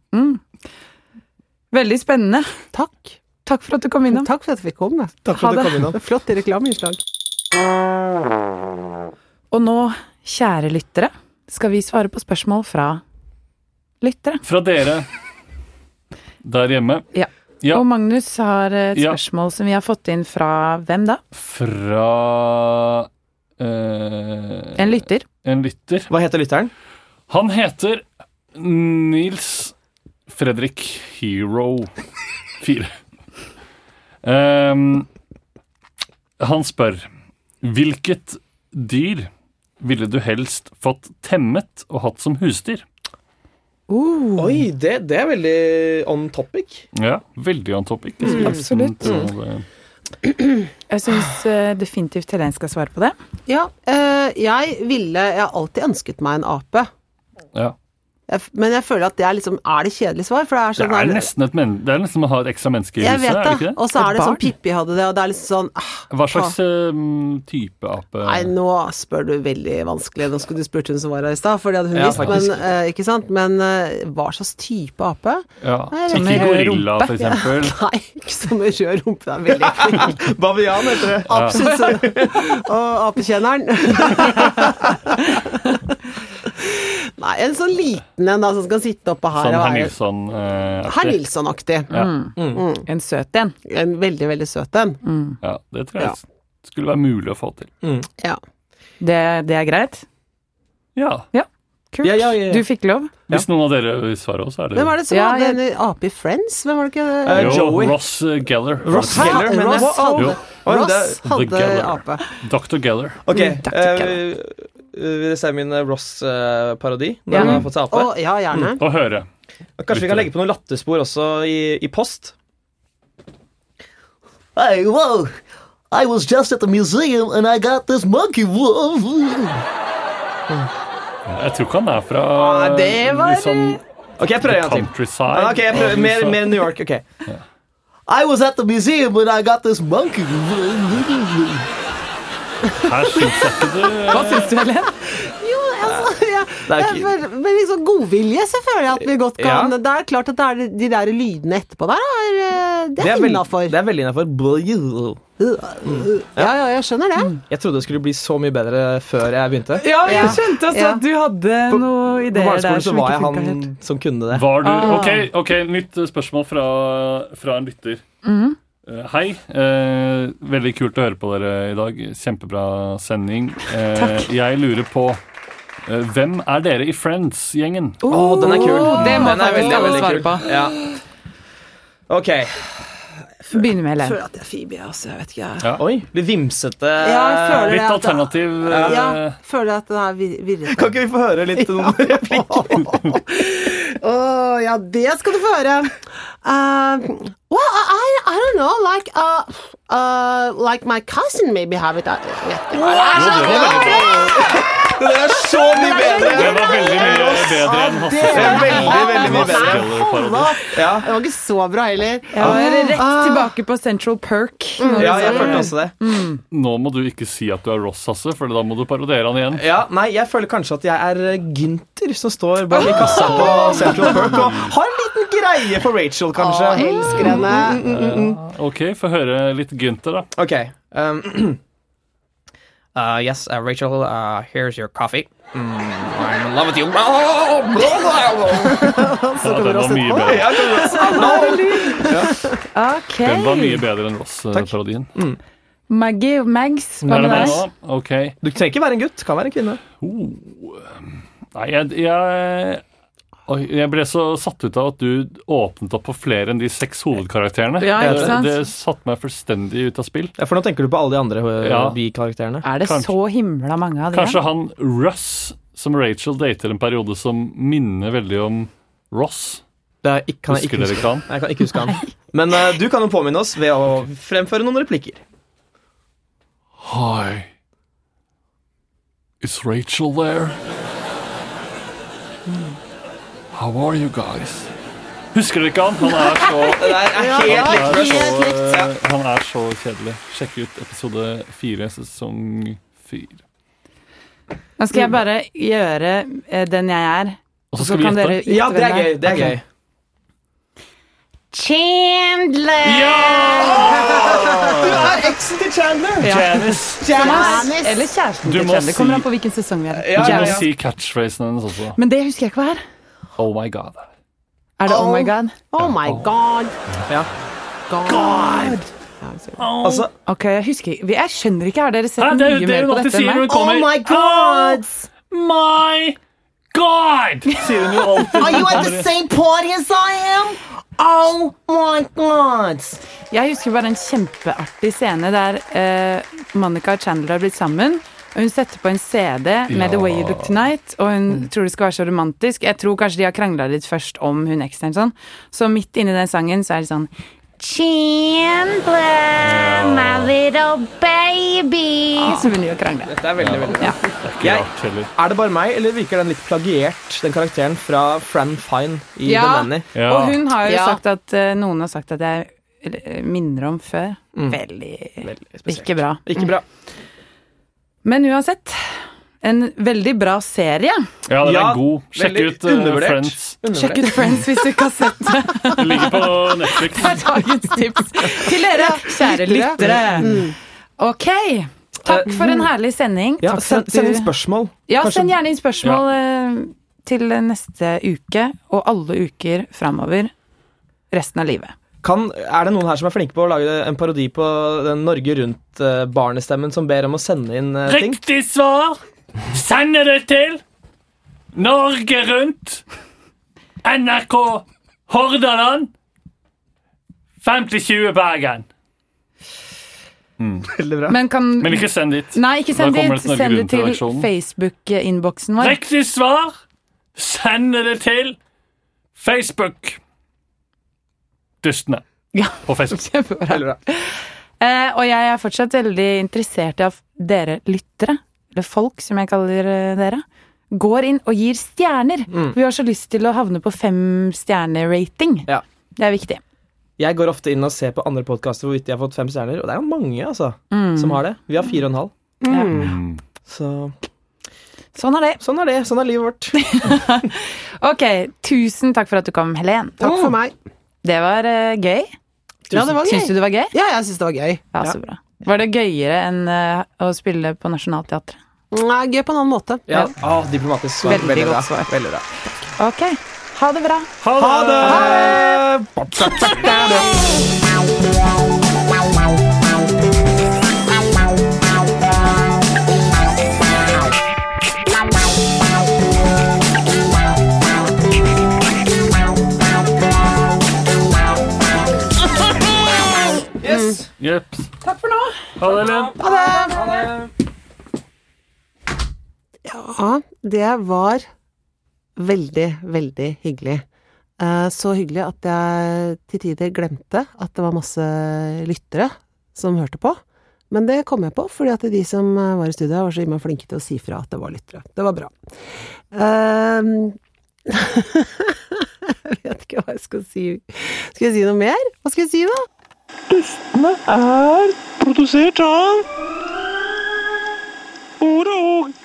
Speaker 2: Veldig spennende.
Speaker 7: Takk.
Speaker 2: Takk for at du kom innom.
Speaker 7: Takk for at vi kom. Med.
Speaker 1: Takk for at
Speaker 2: Ha
Speaker 1: du
Speaker 2: det.
Speaker 1: kom innom.
Speaker 7: Flott reklameinnslag.
Speaker 2: Og nå, kjære lyttere, skal vi svare på spørsmål fra lyttere.
Speaker 3: Fra dere der hjemme.
Speaker 2: Ja.
Speaker 3: Ja.
Speaker 2: Og Magnus har eh, et
Speaker 3: Ja.
Speaker 2: spørsmål som vi har fått inn fra hvem da?
Speaker 3: Fra eh,
Speaker 2: En lytter.
Speaker 3: en lytter.
Speaker 1: Hva heter lytteren?
Speaker 3: Han heter Nils Fredrik Hero 4. Ehm, han spør Hvilket dyr ville du helst fått temmet og hatt som husdyr?
Speaker 7: Oh.
Speaker 1: Oi, det, det er veldig on topic.
Speaker 3: Ja, Veldig on topic.
Speaker 2: absolutt.
Speaker 3: Mm.
Speaker 2: Jeg syns eh, definitivt Helen skal svare på det.
Speaker 7: Ja, eh, jeg ville Jeg har alltid ønsket meg en ape.
Speaker 3: Ja.
Speaker 7: Jeg, f- men jeg føler at det er liksom Er det kjedelig svar? For det er
Speaker 3: Det
Speaker 7: sånn
Speaker 3: er nesten et men det er nesten som å ha et ekstra menneske i
Speaker 7: jeg
Speaker 3: huset.
Speaker 7: vet
Speaker 3: er det ikke
Speaker 7: det.
Speaker 3: det?
Speaker 7: Og så
Speaker 2: Et
Speaker 7: er det
Speaker 2: barn.
Speaker 7: sånn Pippi hadde det, og det er liksom sånn ah,
Speaker 3: Hva slags ehm, type ape?
Speaker 7: Nei, nå spør du veldig vanskelig. Nå skulle du spurt hun som var her i stad, for det hadde hun
Speaker 1: Ja,
Speaker 7: visst. Men,
Speaker 1: faktisk.
Speaker 7: eh, ikke sant? men eh, hva slags type ape?
Speaker 3: Ja.
Speaker 7: Nei, jeg vet
Speaker 3: Ikke
Speaker 2: ikke.
Speaker 3: gorilla, for eksempel.
Speaker 7: Nei, ikke som en rød rumpe. Det er veldig ekkelt.
Speaker 1: Bavian heter det.
Speaker 7: Absolutt sånn. Og apekjenneren. Nei, en sånn liten en da, som skal sitte oppå her
Speaker 3: Sånn eh, herr
Speaker 7: og være Herr
Speaker 3: Nilsson-aktig.
Speaker 7: Nilsson-aktig.
Speaker 3: Ja.
Speaker 2: Mm.
Speaker 1: Mm.
Speaker 2: En søt en.
Speaker 7: En veldig, veldig søt en.
Speaker 3: Ja, det tror
Speaker 7: Ja.
Speaker 3: jeg skulle være mulig å få til.
Speaker 7: Ja.
Speaker 2: Det, det er greit?
Speaker 3: Ja.
Speaker 2: Kult.
Speaker 1: Ja, ja, ja, ja.
Speaker 2: Du fikk lov?
Speaker 3: Hvis noen av dere vil svare oss, er det
Speaker 7: Hvem var det som
Speaker 2: Ja,
Speaker 7: hadde
Speaker 2: jeg-
Speaker 7: en ape i Friends? Hvem var det ikke?
Speaker 1: Eh,
Speaker 3: jo,
Speaker 1: Joey.
Speaker 3: Ross eh, Geller.
Speaker 1: Ross
Speaker 7: Hæ?
Speaker 1: Geller, men
Speaker 7: Ross
Speaker 1: wow.
Speaker 7: hadde,
Speaker 1: Oi,
Speaker 7: Ross
Speaker 1: det-
Speaker 3: The
Speaker 7: hadde
Speaker 3: Geller.
Speaker 7: ape.
Speaker 3: Dr. Geller.
Speaker 1: Ok,
Speaker 2: Takk, takk,
Speaker 1: eh, vil dere se min eh, Ross-parodi når
Speaker 2: Ja.
Speaker 1: han har fått seg ape?
Speaker 7: Å, ja,
Speaker 1: Mm.
Speaker 7: gjerne.
Speaker 3: Å høre.
Speaker 1: Kanskje vi kan legge på noen latterspor også i, i post?
Speaker 6: Hey, whoa! I was just at the museum and I got this monkey. Whoa.
Speaker 3: Jeg tror ikke han er fra
Speaker 1: Ah, det var-
Speaker 3: liksom
Speaker 1: Ok, jeg prøver en gang til.
Speaker 3: countryside.
Speaker 1: Ah, Ok, jeg prøver,
Speaker 3: av
Speaker 1: mer,
Speaker 3: USA.
Speaker 1: mer New York. ok
Speaker 6: I was at the museum and I got this monkey.
Speaker 3: Her syns jeg ikke
Speaker 2: Hva syns du, Helen?
Speaker 7: Jo, altså, ja,
Speaker 1: Det er jo ikke-
Speaker 7: men, men liksom godvilje så føler jeg at vi godt kan
Speaker 1: Ja.
Speaker 7: Det er klart at det er de der lydene etterpå der, er, eh, det er,
Speaker 1: veld-
Speaker 7: innafor.
Speaker 1: Det er veldig innafor.
Speaker 7: Ja, ja, jeg skjønner det.
Speaker 1: Jeg trodde det skulle bli så mye bedre før jeg begynte.
Speaker 2: Ja, jeg
Speaker 7: Ja.
Speaker 2: skjønte også
Speaker 7: Ja.
Speaker 2: at du hadde noen
Speaker 1: På
Speaker 2: ideer der
Speaker 1: barneskolen så
Speaker 2: som
Speaker 1: var
Speaker 2: ikke
Speaker 1: jeg
Speaker 2: funka
Speaker 1: han
Speaker 2: helt.
Speaker 1: som kunne det.
Speaker 3: Var du
Speaker 2: Ah.
Speaker 3: Ok, ok, nytt eh, spørsmål fra, fra en lytter. Eh, Hei. Eh, veldig kult å høre på dere i dag. Kjempebra sending. Eh, Jeg lurer på eh, Hvem er dere i Friends-gjengen?
Speaker 1: Å, den er kul.
Speaker 2: Åh, det må
Speaker 1: den er
Speaker 2: faktisk
Speaker 1: veldig,
Speaker 2: alle
Speaker 1: veldig kul.
Speaker 2: svare på.
Speaker 1: Ja. Ok.
Speaker 2: Begynner med Helen.
Speaker 7: føler at det er Phoebe, altså. Jeg vet ikke, jeg.
Speaker 3: Ja.
Speaker 1: Oi, litt vimsete
Speaker 7: Ja, jeg føler
Speaker 3: Litt
Speaker 7: det at-
Speaker 3: alternativ. eh,
Speaker 7: Ja, føler at det er vir- virrete.
Speaker 1: Kan ikke vi få høre litt noen replikker?
Speaker 7: Å, ja, det skal du få høre. Uh,
Speaker 5: Eh, Well, I, I, I don't know. Like, uh, uh, like my cousin maybe have it. uh, I,
Speaker 1: Det der er så mye bedre!
Speaker 3: Det var veldig mye bedre enn Hasse
Speaker 1: Det er veldig, veldig mye bedre.
Speaker 3: Skeller-parodi.
Speaker 1: Ja,
Speaker 5: det var ikke så bra heller.
Speaker 2: Jeg var rett tilbake på Central Perk. når
Speaker 1: ja
Speaker 2: du sa
Speaker 1: jeg
Speaker 2: det.
Speaker 1: følte også det.
Speaker 3: Nå må du ikke si at du er Ross, Hasse, for da må du parodiere han igjen.
Speaker 1: Ja, nei, jeg føler kanskje at jeg er Gynter som står bak i kassa på Central Perk og har en liten greie for Rachel, kanskje.
Speaker 7: Mm.
Speaker 5: Elsker henne.
Speaker 3: Ok, få høre litt Gynter, da.
Speaker 1: Ok. Um, uh, yes, uh, Rachel, uh, here's your coffee. Mm, I'm in love with you. Ah!
Speaker 3: Ja, den var mye bedre. Den var
Speaker 2: Ok.
Speaker 3: mye bedre enn Ross-parodien.
Speaker 2: Maggie og Mags, hva
Speaker 3: Er det
Speaker 2: med
Speaker 3: meg
Speaker 2: deg?
Speaker 3: nå? Ok.
Speaker 1: Du trenger ikke være en gutt, kan være en kvinne.
Speaker 3: Nei, jeg, jeg Oi, jeg ble så satt ut av at du åpnet opp for flere enn de seks hovedkarakterene.
Speaker 2: Ja, ikke
Speaker 3: det,
Speaker 2: sant?
Speaker 3: det satte meg fullstendig ut av spill.
Speaker 1: Ja, for nå tenker du på alle de andre uh,
Speaker 3: Ja.
Speaker 1: bikarakterene.
Speaker 2: Er det
Speaker 3: Kanskje-
Speaker 2: så himla mange av de?
Speaker 3: Kanskje han Russ, som Rachel dater en periode som minner veldig om Ross.
Speaker 1: Det er ikke, kan jeg,
Speaker 3: Husker
Speaker 1: ikke
Speaker 3: dere
Speaker 1: huske.
Speaker 3: ikke han?
Speaker 1: Nei, jeg kan ikke huske han. Men uh, du kan jo påminne oss ved å fremføre noen replikker.
Speaker 3: Hi. Is Rachel there? How are you guys? Husker dere ikke han? Han er så,
Speaker 1: Det der er helt likt
Speaker 3: han er
Speaker 1: Rush.
Speaker 3: så, eh, han er så kjedelig. Sjekk ut episode fire, sesong fire.
Speaker 2: Nå skal jeg bare gjøre eh, den jeg er,
Speaker 3: Og
Speaker 2: og
Speaker 3: så
Speaker 2: så
Speaker 3: skal vi
Speaker 2: kan dere
Speaker 3: gjette.
Speaker 2: gjette
Speaker 1: Ja, det er
Speaker 2: hvem
Speaker 1: gøy. det er
Speaker 2: Ok.
Speaker 1: gøy.
Speaker 4: Chandler!
Speaker 1: er eksen til Chandler!
Speaker 3: Janice!
Speaker 2: Janice, Eller kjæresten
Speaker 3: Du
Speaker 2: til
Speaker 3: må
Speaker 2: Chandler. Kommer
Speaker 3: si-
Speaker 2: an på hvilken sesong vi er i.
Speaker 1: Ja,
Speaker 3: Du må
Speaker 2: Janice.
Speaker 3: si catchphrasen hennes også.
Speaker 2: Men det husker jeg ikke hva er.
Speaker 3: Oh my god.
Speaker 2: Er det Oh my God?
Speaker 7: oh my god.
Speaker 1: Ja.
Speaker 7: God.
Speaker 1: Altså,
Speaker 2: Ok, Jeg husker ikke. Jeg skjønner ikke. Har dere sett
Speaker 3: Hæ, det er jo
Speaker 2: mye
Speaker 3: det
Speaker 2: mer
Speaker 3: hun
Speaker 2: på
Speaker 3: alltid
Speaker 2: dette enn
Speaker 3: sier når
Speaker 2: meg?
Speaker 3: hun kommer.
Speaker 5: Oh my god!
Speaker 3: Oh my god! Sier hun jo alltid.
Speaker 5: Are you at the same party as I am? Oh my god!
Speaker 2: Jeg husker bare en kjempeartig scene der eh, Monica og Chandler har blitt sammen. Og hun setter på en CD med
Speaker 3: Ja.
Speaker 2: The Way You Look Tonight, og hun tror det skal være så romantisk. Jeg tror kanskje de har krangla litt først om hun ekstern sånn. Så midt inni den sangen så er det sånn
Speaker 4: Chandler, my little baby.
Speaker 2: Så begynner de å krangle.
Speaker 1: dette er veldig, veldig bra.
Speaker 2: Ja.
Speaker 1: Jeg,
Speaker 3: Rart, heller.
Speaker 1: er det bare meg, eller virker den litt plagiert, den karakteren fra Fran Fine i
Speaker 2: Ja.
Speaker 1: The Nanny?
Speaker 3: Ja.
Speaker 2: Og hun har jo
Speaker 7: Ja.
Speaker 2: sagt at eh, noen har sagt at jeg eh, minner om før. Veldig,
Speaker 1: Veldig spesielt.
Speaker 2: Ikke bra.
Speaker 1: Ikke bra.
Speaker 2: Men uansett, en veldig bra serie.
Speaker 3: Ja, den
Speaker 1: Ja,
Speaker 3: er god. Sjekk
Speaker 1: veldig
Speaker 3: ut eh,
Speaker 1: undervurdert.
Speaker 3: Friends.
Speaker 2: Sjekk ut Friends hvis du ikke har sett det.
Speaker 3: Den ligger på Netflix.
Speaker 2: er dagens tips til dere, kjære lyttere. Ok. Takk for en herlig sending.
Speaker 1: Ja,
Speaker 2: Takk for
Speaker 1: send,
Speaker 2: at
Speaker 1: send
Speaker 2: du-
Speaker 1: inn spørsmål.
Speaker 2: Ja,
Speaker 1: Kanskje-
Speaker 2: send gjerne inn spørsmål eh, til neste uke og alle uker framover resten av livet.
Speaker 1: Kan, er det noen her som er flinke på å lage en parodi på den Norge Rundt-barnestemmen som ber om å sende inn eh, ting?
Speaker 3: Riktig svar sender det til Norge Rundt, NRK Hordaland, 5020 Bergen.
Speaker 1: Veldig bra.
Speaker 2: Men kan
Speaker 3: Men ikke send dit.
Speaker 2: Nei, ikke send
Speaker 3: Da
Speaker 2: det.
Speaker 3: kommer det til Norge
Speaker 2: Send det til
Speaker 3: Rundt-redaksjonen.
Speaker 2: Facebook-innboksen vår.
Speaker 3: Riktig svar sender det til Facebook. Dustene
Speaker 2: Ja.
Speaker 3: på Facebook.
Speaker 2: Kjempebra.
Speaker 1: Veldig bra.
Speaker 2: Eh, og jeg er fortsatt veldig interessert i at dere lyttere, eller folk som jeg kaller eh, dere, går inn og gir stjerner.
Speaker 1: Mm.
Speaker 2: Vi har så lyst til å havne på femstjernerating.
Speaker 1: Ja.
Speaker 2: Det er viktig.
Speaker 1: Jeg går ofte inn og ser på andre podkaster hvorvidt de har fått fem stjerner, og det er jo mange altså, som har det. Vi har fire og en halv. Mm. Så
Speaker 2: Sånn er det.
Speaker 1: sånn er det. Sånn er livet vårt.
Speaker 2: Ok, tusen takk for at du kom, Helen.
Speaker 7: Takk
Speaker 5: Mm.
Speaker 7: for meg.
Speaker 2: Det var eh, gøy.
Speaker 7: Ja, det var
Speaker 2: Syns du
Speaker 7: gøy.
Speaker 2: det var gøy?
Speaker 7: Ja, jeg syns det var gøy.
Speaker 2: Ja, så bra. Var det gøyere enn eh, å spille på Nationaltheatret?
Speaker 7: Nei, gøy på en annen måte.
Speaker 1: Ja. Ah, diplomatisk svar.
Speaker 2: Veldig
Speaker 1: bra.
Speaker 2: godt svar.
Speaker 1: Veldig bra.
Speaker 2: Ok, ha det bra.
Speaker 1: Ha det!
Speaker 3: Jeps.
Speaker 2: Takk for nå.
Speaker 3: Ha det, Len.
Speaker 7: Ja, det var veldig, veldig hyggelig. Eh, Så hyggelig at jeg til tider glemte at det var masse lyttere som hørte på. Men det kom jeg på, fordi at de som eh, var i studio, var så innmari flinke til å si fra at det var lyttere. Det var bra. Eh, jeg vet ikke hva jeg skal si. Skal jeg si noe mer? Hva skal jeg si, da?
Speaker 8: Duftene er produsert av Ore og